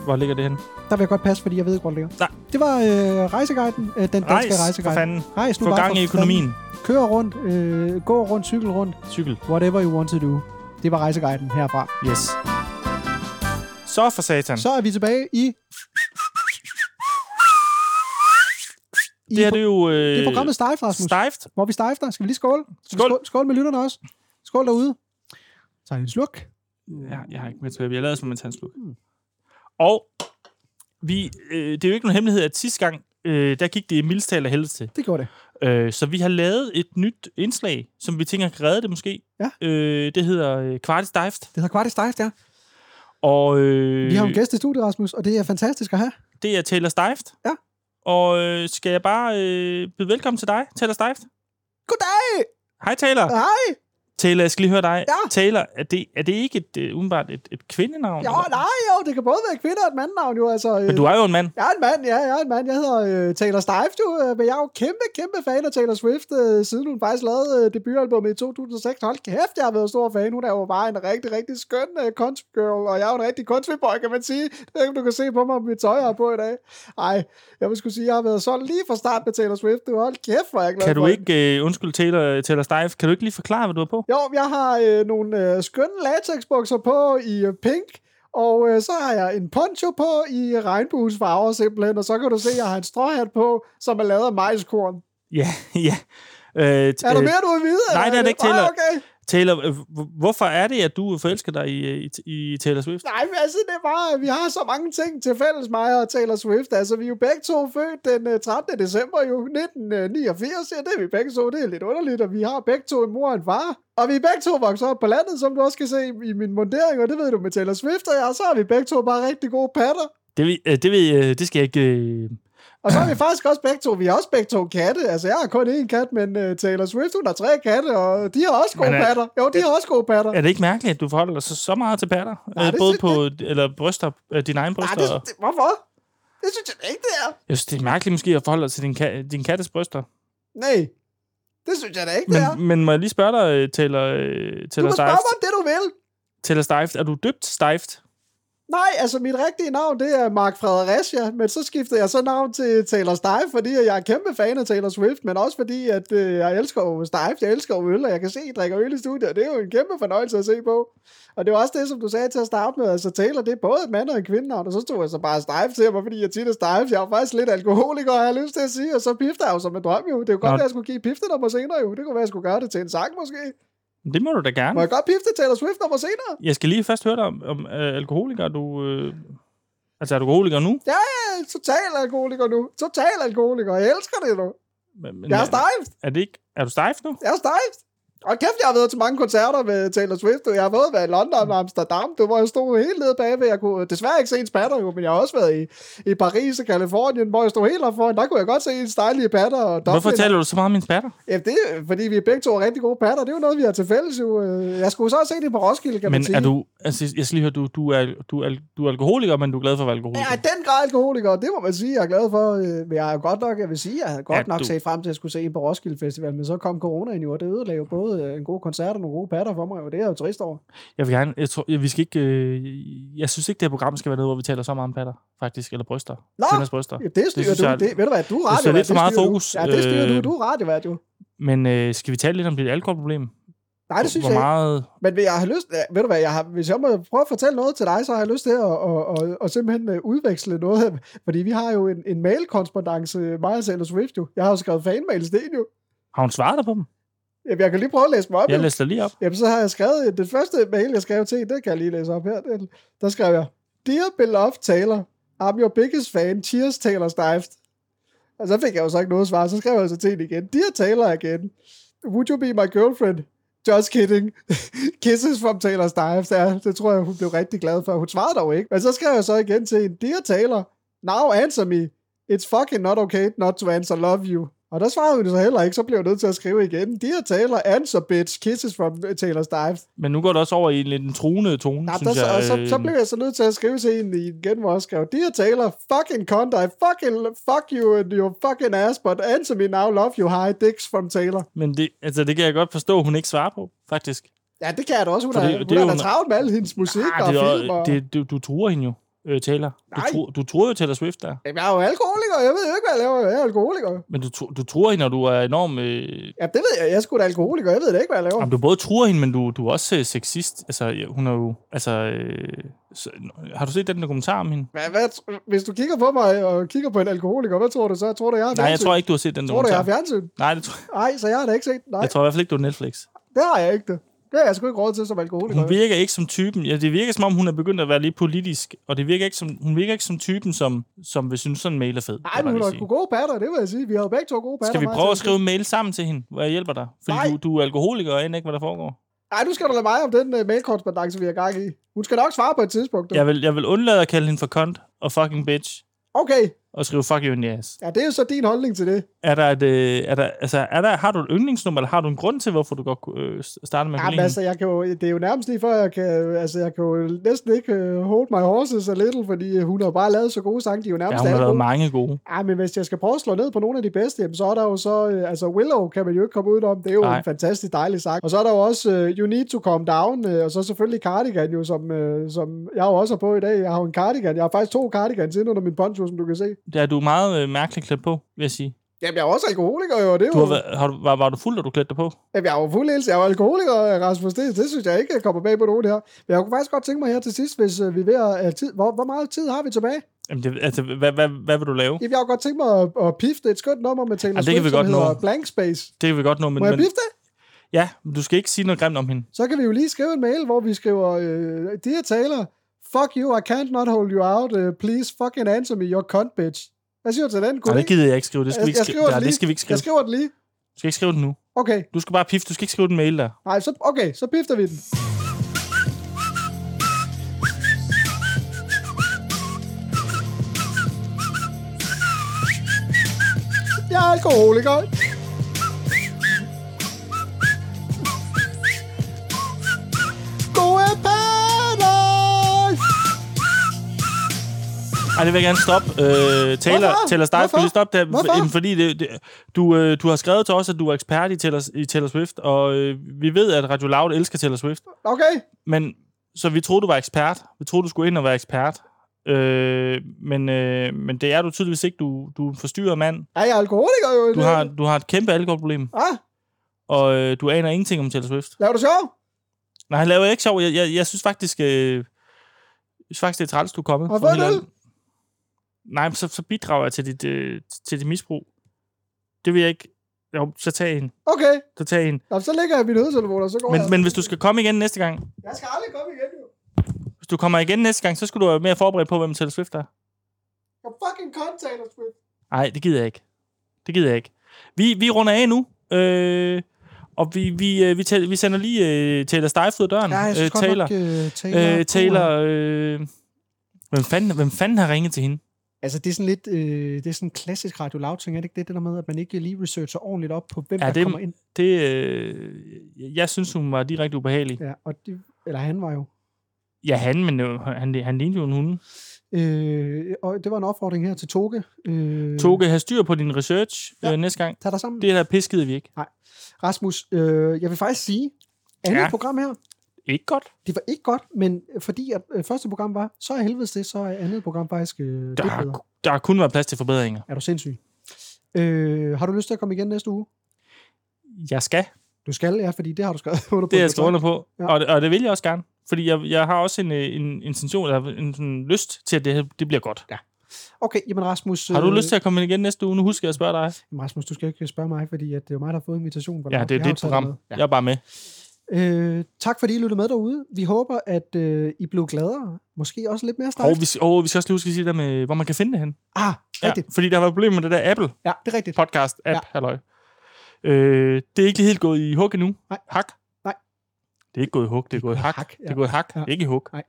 Hvor ligger det henne?
Der vil jeg godt passe, fordi jeg ved ikke, hvor det ligger.
Nej.
Det var øh, rejseguiden, øh, den danske
Rejs, for
rejseguide.
fanden.
Rejs nu
Få
bare
gang
for
i økonomien.
fanden. Kør rundt, øh, gå rundt, cykel rundt,
Cykel.
whatever you want to do. Det var rejseguiden herfra.
Yes. Så for satan.
Så er vi tilbage i... I
det er
pro-
det jo... Øh,
I programmet Stejf, Rasmus.
Stejft.
Hvor vi stejfter. Skal vi lige skåle?
Skål.
Skål, skål med lytterne også. Skål derude. Så en sluk.
Ja, jeg har ikke
Mm.
mere tilbage. Jeg lavede som en tandsluk. Og vi, øh, det er jo ikke nogen hemmelighed, at sidste gang, øh, der gik det mildstal af helvede til.
Det gjorde det.
Øh, så vi har lavet et nyt indslag, som vi tænker kan redde det måske.
Ja.
Øh, det hedder øh, Kvartis Dift.
Det hedder Kvartis Stejft, ja.
Og øh,
Vi har jo en gæst i studiet, Rasmus, og det er fantastisk at have.
det er Taylor Stift.
Ja.
Og øh, skal jeg bare øh, byde velkommen til dig, Taylor Stift.
Goddag!
Hej Taylor. Ja.
Hej!
Taylor, jeg skal lige høre dig.
Ja.
Taylor, er det, er det ikke et, øh, umiddelbart et, et kvindenavn?
Jo,
eller?
nej, jo, det kan både være et kvinde og et mandnavn, jo. Altså, øh,
Men du er jo en mand.
Jeg er en mand, ja, jeg er en mand. Jeg hedder øh, Taylor Stift, jo, øh, men jeg er jo kæmpe, kæmpe fan af Taylor Swift, øh, siden hun faktisk lavede øh, debutalbummet i 2006. Hold kæft, jeg har været stor fan. Hun er jo bare en rigtig, rigtig skøn øh, country girl, og jeg er jo en rigtig country boy, kan man sige. Det ved ikke, om du kan se på mig, om mit tøj jeg har på i dag. Ej, jeg vil skulle sige, jeg har været solgt lige fra start med Taylor Swift. Du, hold kæft, hvor er jeg glad
Kan du
for hende.
ikke, øh, undskyld Taylor, Taylor Stife, kan du ikke lige forklare, hvad du har på?
Jo, jeg har øh, nogle øh, skønne latexbukser på i øh, pink, og øh, så har jeg en poncho på i øh, regnbuens farver simpelthen, og så kan du se, at jeg har en stråhat på, som er lavet af majskorn.
Ja, ja. Øh,
Er der mere, du vil vide?
nej, det er det ikke, Taylor.
Ah, okay.
Taylor, øh, h- hvorfor er det, at du forelsker dig i, øh, i, i Taylor Swift?
Nej, men altså, det er bare, vi har så mange ting til fælles, mig og Taylor Swift. Altså, vi er jo begge to født den øh, 13. december jo 1989, ja, det er vi begge to, det er lidt underligt, og vi har begge to en mor og en far. Og vi er begge to vokset op på landet, som du også kan se i min mundering, og det ved du med Taylor Swift og jeg, så har vi begge to bare rigtig gode patter.
Det, ved- øh, det, ved, øh, det skal jeg ikke... Øh,
Og så har vi faktisk også begge to, vi har også begge to katte. Altså, jeg har kun én kat, men uh, Taylor Swift, hun har tre katte, og de har også gode
Men øh, er-
patter. Jo, de har også gode patter.
er det ikke mærkeligt, at du forholder dig så, så meget til patter?
Nej,
øh,
det
både
synes
på eller bryster, øh, dine egne
Nej,
bryster?
det,
og-
det, hvorfor? Det synes jeg da ikke, det er.
Jeg synes, det er mærkeligt måske at forholde dig til din, ka- din kattes bryster.
Nej, det synes jeg da ikke, det er.
Men, men må jeg lige spørge dig, øh, Taylor, øh,
Du
Taylor,
må spørge
Stift,
mig om det, du vil.
Taylor Stift? Er du døbt Stift?
Nej, altså mit rigtige navn, det er Mark Fredericia, men så skiftede jeg så navn til Taylor Stife, fordi jeg er kæmpe fan af Taylor Swift, men også fordi, at øh, jeg elsker jo Stife, jeg elsker jo øl, og jeg kan se, at I drikker øl i studiet, og det er jo en kæmpe fornøjelse at se på. Og det var også det, som du sagde til at starte med, altså Taylor, det er både et mand og en kvindenavn, og så stod jeg så bare Stife til mig, fordi jeg tit er Stife, jeg er jo faktisk lidt alkoholiker, har jeg lyst til at sige, og så pifter jeg jo som en drøm jo. Det er jo godt,
Nå.
at jeg skulle give piftenummer senere jo, det kunne være, at jeg skulle gøre det til en sang måske.
Det må du da gerne.
Må jeg godt pifte Taylor Swift nummer senere?
Jeg skal lige først høre dig om, om øh, alkoholiker. Er Du, øh, altså, er du alkoholiker nu?
Ja, ja, total alkoholiker nu. Total alkoholiker. Jeg elsker det nu.
Men, men
Jeg er
er-
stejft.
Er, det ikke, er du Stift nu?
Jeg er stejft. Og kæft, jeg har været til mange koncerter med Taylor Swift. og Jeg har både været i London og Amsterdam, det, hvor jeg stod helt nede bagved. Jeg kunne desværre ikke se hendes patter, jo, men jeg har også været i, i Paris og Kalifornien, hvor jeg stod helt op foran. Der kunne jeg godt se hendes dejlige patter. Og Dublin.
Hvorfor taler du så meget om min patter?
Ja, det er, fordi vi begge to er rigtig gode patter. Det er jo noget, vi har til fælles. Jo. Øh, Jeg skulle så se det på Roskilde, kan man
Men
sige.
er du... Altså, jeg skal lige høre, du, du, er, du, er, du er alkoholiker, men du er glad for at være alkoholiker.
Jeg er i den grad alkoholiker, og det må man sige, jeg er glad for. øh, Men jeg er jo godt nok, jeg vil sige, jeg havde godt
Ja,
ja, nok
du-
set frem til, at jeg skulle se en på Roskilde Festival, men så kom corona ind jo, og det ødelagde jo både øh, en god koncert og nogle gode patter for mig, og det er jeg jo trist over.
Jeg vil gerne... Jeg, tror, jeg, vi skal ikke, øh, jeg synes ikke, det her program skal være noget, hvor vi taler så meget om patter, faktisk. Eller bryster.
Nå!
Kvinders bryster.
Ja, det styrer
synes
det du.
jeg-
Jeg... Det, ved du hvad, du er
synes,
radiovært.
det er lidt for meget
styrer du.
fokus.
Ja, det styrer
Øh,
du. Du er radiovært jo.
Men øh, skal vi tale lidt om dit alkoholproblem?
Nej, det synes
Hvor
jeg ikke.
meget...
Men vil jeg har lyst, ja, ved du hvad, jeg har, hvis jeg må prøve at fortælle noget til dig, så har jeg lyst til at, at, at, at simpelthen øh, udveksle noget. Fordi vi har jo en, en mailkorrespondance, mig og Taylor Swift jo. Jeg har jo skrevet fanmails, det er jo.
Har hun svaret dig på dem?
Jamen, Jeg kan lige prøve at læse dem op.
Jeg
jo.
læser lige op.
Jamen, så har jeg skrevet, den første mail, jeg skrev til, hende, den kan jeg lige læse op her. Den, der skrev jeg, Dear beloved Taylor, I'm your biggest fan, cheers Taylor Stift. Og så fik jeg jo så ikke noget svar, så skrev jeg så til hende igen, Dear Taylor again, would you be my girlfriend? Just kidding. Kisses from Taylor Stift. Ja, det tror jeg, hun blev rigtig glad for. Hun svarede dog ikke. Men så skrev jeg så igen til hende, Dear Taylor, now answer me. It's fucking not okay not to answer love you. Og der svarede hun så heller ikke, så blev jeg nødt til at skrive igen. De her taler, answer bitch, kisses from Taylor Stiles.
Men nu går det også over i en lidt en truende tone,
Nej, der,
synes
så,
jeg.
og så, så
øh,
blev jeg så nødt til at skrive til hende igen, hvor jeg skrev, de her taler, fucking cunt, I fucking, fuck you and your fucking ass, but answer me now, love you, hi, dicks from Taylor.
Men det, altså, det kan jeg godt forstå, hun ikke svarer på, faktisk.
Ja, det kan jeg da også, hun
Fordi
har,
det
hun
er
har
jo
da
noget-
travlt med al hendes musik
Ah,
og
det er,
film. Og...
det, du, du truer hende jo, øh, Taylor. Du,
Nej.
tru, du truer jo Taylor Swift der.
Jamen, jeg er jo alkoholiker, jeg ved jo ikke, hvad jeg laver, jeg er alkoholiker.
Men du, tru- du truer hende, og du er enorm... Øh,
Ja, det ved jeg, jeg er sgu da alkoholiker, jeg ved da ikke, hvad jeg laver.
jamen, du både truer hende, men du, du er også øh, sexist. Altså, ja, hun er jo... Altså, øh, så, har du set den dokumentar om hende?
Hvad, hvad, tr- hvis du kigger på mig og kigger på en alkoholiker, hvad tror du så? Tror du, jeg har
Nej, jeg
fjernsyn?
tror ikke, du har set den
Tror du, jeg har
dokumentar.
fjernsyn?
Nej, det tror,
Nej, så jeg har da ikke set. Nej,
jeg tror i hvert fald ikke, du er Netflix.
det har jeg ikke det. Det har jeg sgu ikke råd til som alkoholiker.
Hun virker ikke som typen. Ja, det virker som om, hun er begyndt at være lidt politisk, og det virker ikke som, hun virker ikke som typen, som, som vil synes, sådan en mail er fed.
Nej,
kan
men
man
hun
vel
har
sige.
sgu gode patter, det vil jeg sige. Vi har jo begge to gode patter.
Skal vi
mig og
prøve at
Sasha.
skrive en mail sammen til hende, hvor jeg hjælper dig?
Nej.
Fordi du, du er alkoholiker og aner ikke, hvad der foregår.
Nej, nu skal du lade mig om den uh, mailkorrespondance, vi har gang i. Hun skal nok svare på et tidspunkt. du.
Jeg vil, jeg vil undlade at kalde hende for cunt og fucking bitch
Okay,
og skrive fuck you in the ass.
ja, det er jo så din holdning til det.
Er der et, øh, er der, altså, er der, har du et yndlingsnummer, eller har du en grund til, hvorfor du godt kunne, øh, starte med at kunne
Jamen
lide
altså,
hende?
jeg kan jo, det er jo nærmest lige før, jeg kan, altså, jeg kan jo næsten ikke uh, hold my horses a little, fordi øh, hun har jo bare lavet så gode sange, de er jo
Ja,
nærmest
hun har
alle
lavet
gode.
mange gode.
Ja, men hvis jeg skal prøve at slå ned på nogle af de bedste, jamen, så er der jo så, øh, altså Willow kan man jo ikke komme udenom, det er jo
Nej.
en fantastisk dejlig sang. Og så er der jo også øh, You Need to Calm Down, øh, og så selvfølgelig Cardigan jo, som, øh, som jeg jo også har på i dag. Jeg har jo en cardigan, jeg har faktisk to cardigans ind under min poncho, som du kan se.
Ja, du er meget øh, mærkeligt klædt på, vil jeg sige.
Jamen jeg er også alkoholiker jo, og det er
Du
jo,
har, været- har, du- var, var du fuld, da du klædte dig på?
jamen, jeg er jo fuld helse, jeg er jo alkoholiker, Rasmus, det, det synes jeg ikke, jeg kommer bag på nogen her. Men jeg kunne faktisk godt tænke mig her til sidst, hvis øh, vi er ved at, øh, tid, hvor, hvor meget tid har vi tilbage?
Jamen, det, altså, hvad, hvad, hvad vil du lave?
Jamen jeg har jo godt tænkt mig at, at pifte et skønt nummer med Taylor
Ej, det kan
Swift,
vi
som
godt nå.
hedder Blank Space.
Det kan vi godt nå,
Må
men,
jeg
men
pifte det?
ja, men du skal ikke sige noget grimt om hende.
så kan vi jo lige skrive en mail, hvor vi skriver, øh, de her taler, fuck you, I can't not hold you out, uh, please fucking answer me, your cunt bitch. Hvad siger du til den?
Nej, det
ikke?
gider jeg ikke skrive. Det skal, vi
Jeg-
ikke
jeg
skrive.
skriver
Nej,
det
det
lige.
skal vi ikke skrive.
Jeg skriver den lige.
Du skal ikke skrive den nu.
Okay,
Du skal bare pifte. Du skal ikke skrive den mail der.
Nej, så, okay, så pifter vi den. Jeg er alkoholiker. Gode patter!
Ej, det vil jeg gerne stoppe. Øh, Taylor,
Hvorfor?
Taylor Stiles,
Hvorfor?
skal vi stoppe der?
Hvorfor?
Jamen, Fordi det, det, du, øh, du har skrevet til os, at du er ekspert i Taylor, i Taylor Swift, og øh, vi ved, at Radio Loud elsker Taylor Swift.
Okay,
Men, så vi troede, du var ekspert. Vi troede, du skulle ind og være ekspert. Øh, men, øh, men det er du tydeligvis ikke. Du, du er en forstyrret mand.
er jeg alkoholiker jo?
Du har, du har et kæmpe alkoholproblem,
Ah,
og øh, du aner ingenting om Taylor Swift.
laver du sjov?
Nej, han laver ikke sjov. Jeg, jeg, jeg synes faktisk, øh, jeg synes faktisk, det er træls, du er kommet.
Har du
fra
fået
helt
en øl?
andet. Nej, men så, så bidrager jeg til dit, øh, til dit misbrug. Det vil jeg ikke. Jo, så tag en.
Okay,
Så tag en.
Nå, så lægger jeg mine hovedtelefoner, og så går jeg.
Men, men hvis du skal komme igen næste gang,
Jeg skal aldrig komme igen, jo.
hvis du kommer igen næste gang, så skal du være mere forberedt på, hvem Taylor Swift er.
Jeg fucking container Swift.
Nej, det gider jeg ikke. Det gider jeg ikke. Vi, vi runder af nu. Øh, og vi, vi, øh, vi, tæ- vi sender lige øh, Taylor Stiles ud af døren.
Ja, jeg synes
Øh,
godt
Taylor.
nok, øh, Taylor.
øh, Taylor øh, hvem, fanden, hvem fanden har ringet til hende?
Altså, det er sådan lidt, øh, det er sådan en klassisk Radio Loud ting, er det ikke det, det der med, at man ikke lige researcher ordentligt op på, hvem
Ja,
ja, der
det-
kommer ind?
Det, øh, jeg synes, hun var direkte ubehagelig.
Ja, og de, eller han var jo.
Ja, han, men øh, han, han lignede jo en hund.
Mm. Øh, og det var en opfordring her til Toge. Øh,
Toge, have styr på din research ja.
Ja.
øh, næste gang.
Tag dig sammen. Det.
Det der piskede vi ikke.
Rasmus, øh, jeg vil faktisk sige, andet
Ja.
ja. program her,
Ikke godt.
det var ikke godt, men fordi at øh, første program var, så er helvedes det, så er andet program faktisk øh, lidt
Der har,
bedre.
der har kun været plads til forbedringer.
Er du sindssyg? Øh, har du lyst til at komme igen næste uge?
Jeg skal.
Du skal, ja, fordi det har du skrevet under på.
Det er
en
jeg skrevet under på.
Ja.
Og, og det vil jeg også gerne. Fordi jeg, jeg har også en, øh, en intention, eller en sådan, lyst til, at det, her, det bliver godt.
Okay, jamen Rasmus...
Har du
øh,
lyst til at komme ind igen næste uge? Nu husker jeg at spørge dig.
Jamen, Rasmus, du skal ikke spørge mig, fordi at det er jo mig, der har fået invitationen.
Ja, det er dit program. Jeg er bare med.
Ja. Øh, tak fordi I lyttede med derude. Vi håber, at øh, I blev gladere. Måske også lidt mere
Og
stejlt.
vi, og vi skal også lige huske at sige det der med, hvor man kan finde det hen.
Ah,
Ja,
rigtigt.
fordi der var et problem med det der Apple.
Ja, det er rigtigt.
podcast app, ja. halløj. Øh, det er ikke lige helt gået i hug endnu.
Nej.
Hak.
Nej.
Det er ikke gået i hug, det er gået i hak. hak
ja.
Det er gået i hak, ja.
Ja.
ikke i hug.
Nej.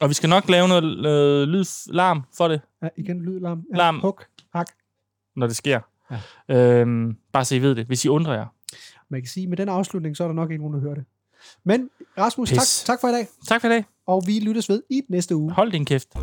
Og vi skal nok lave noget øh, lyd, larm for det,
Ja, igen, lyd, larm. Ja,
Larm.
Huk, hak.
når det sker. Ja. Øhm, bare så I ved det, hvis I undrer jer.
Man kan sige, at med den afslutning, så er der nok ikke nogen, der hører det. Men Rasmus, tak,
Pis.
tak for i dag,
Tak for i dag.
og vi lyttes ved i næste uge.
Hold din kæft.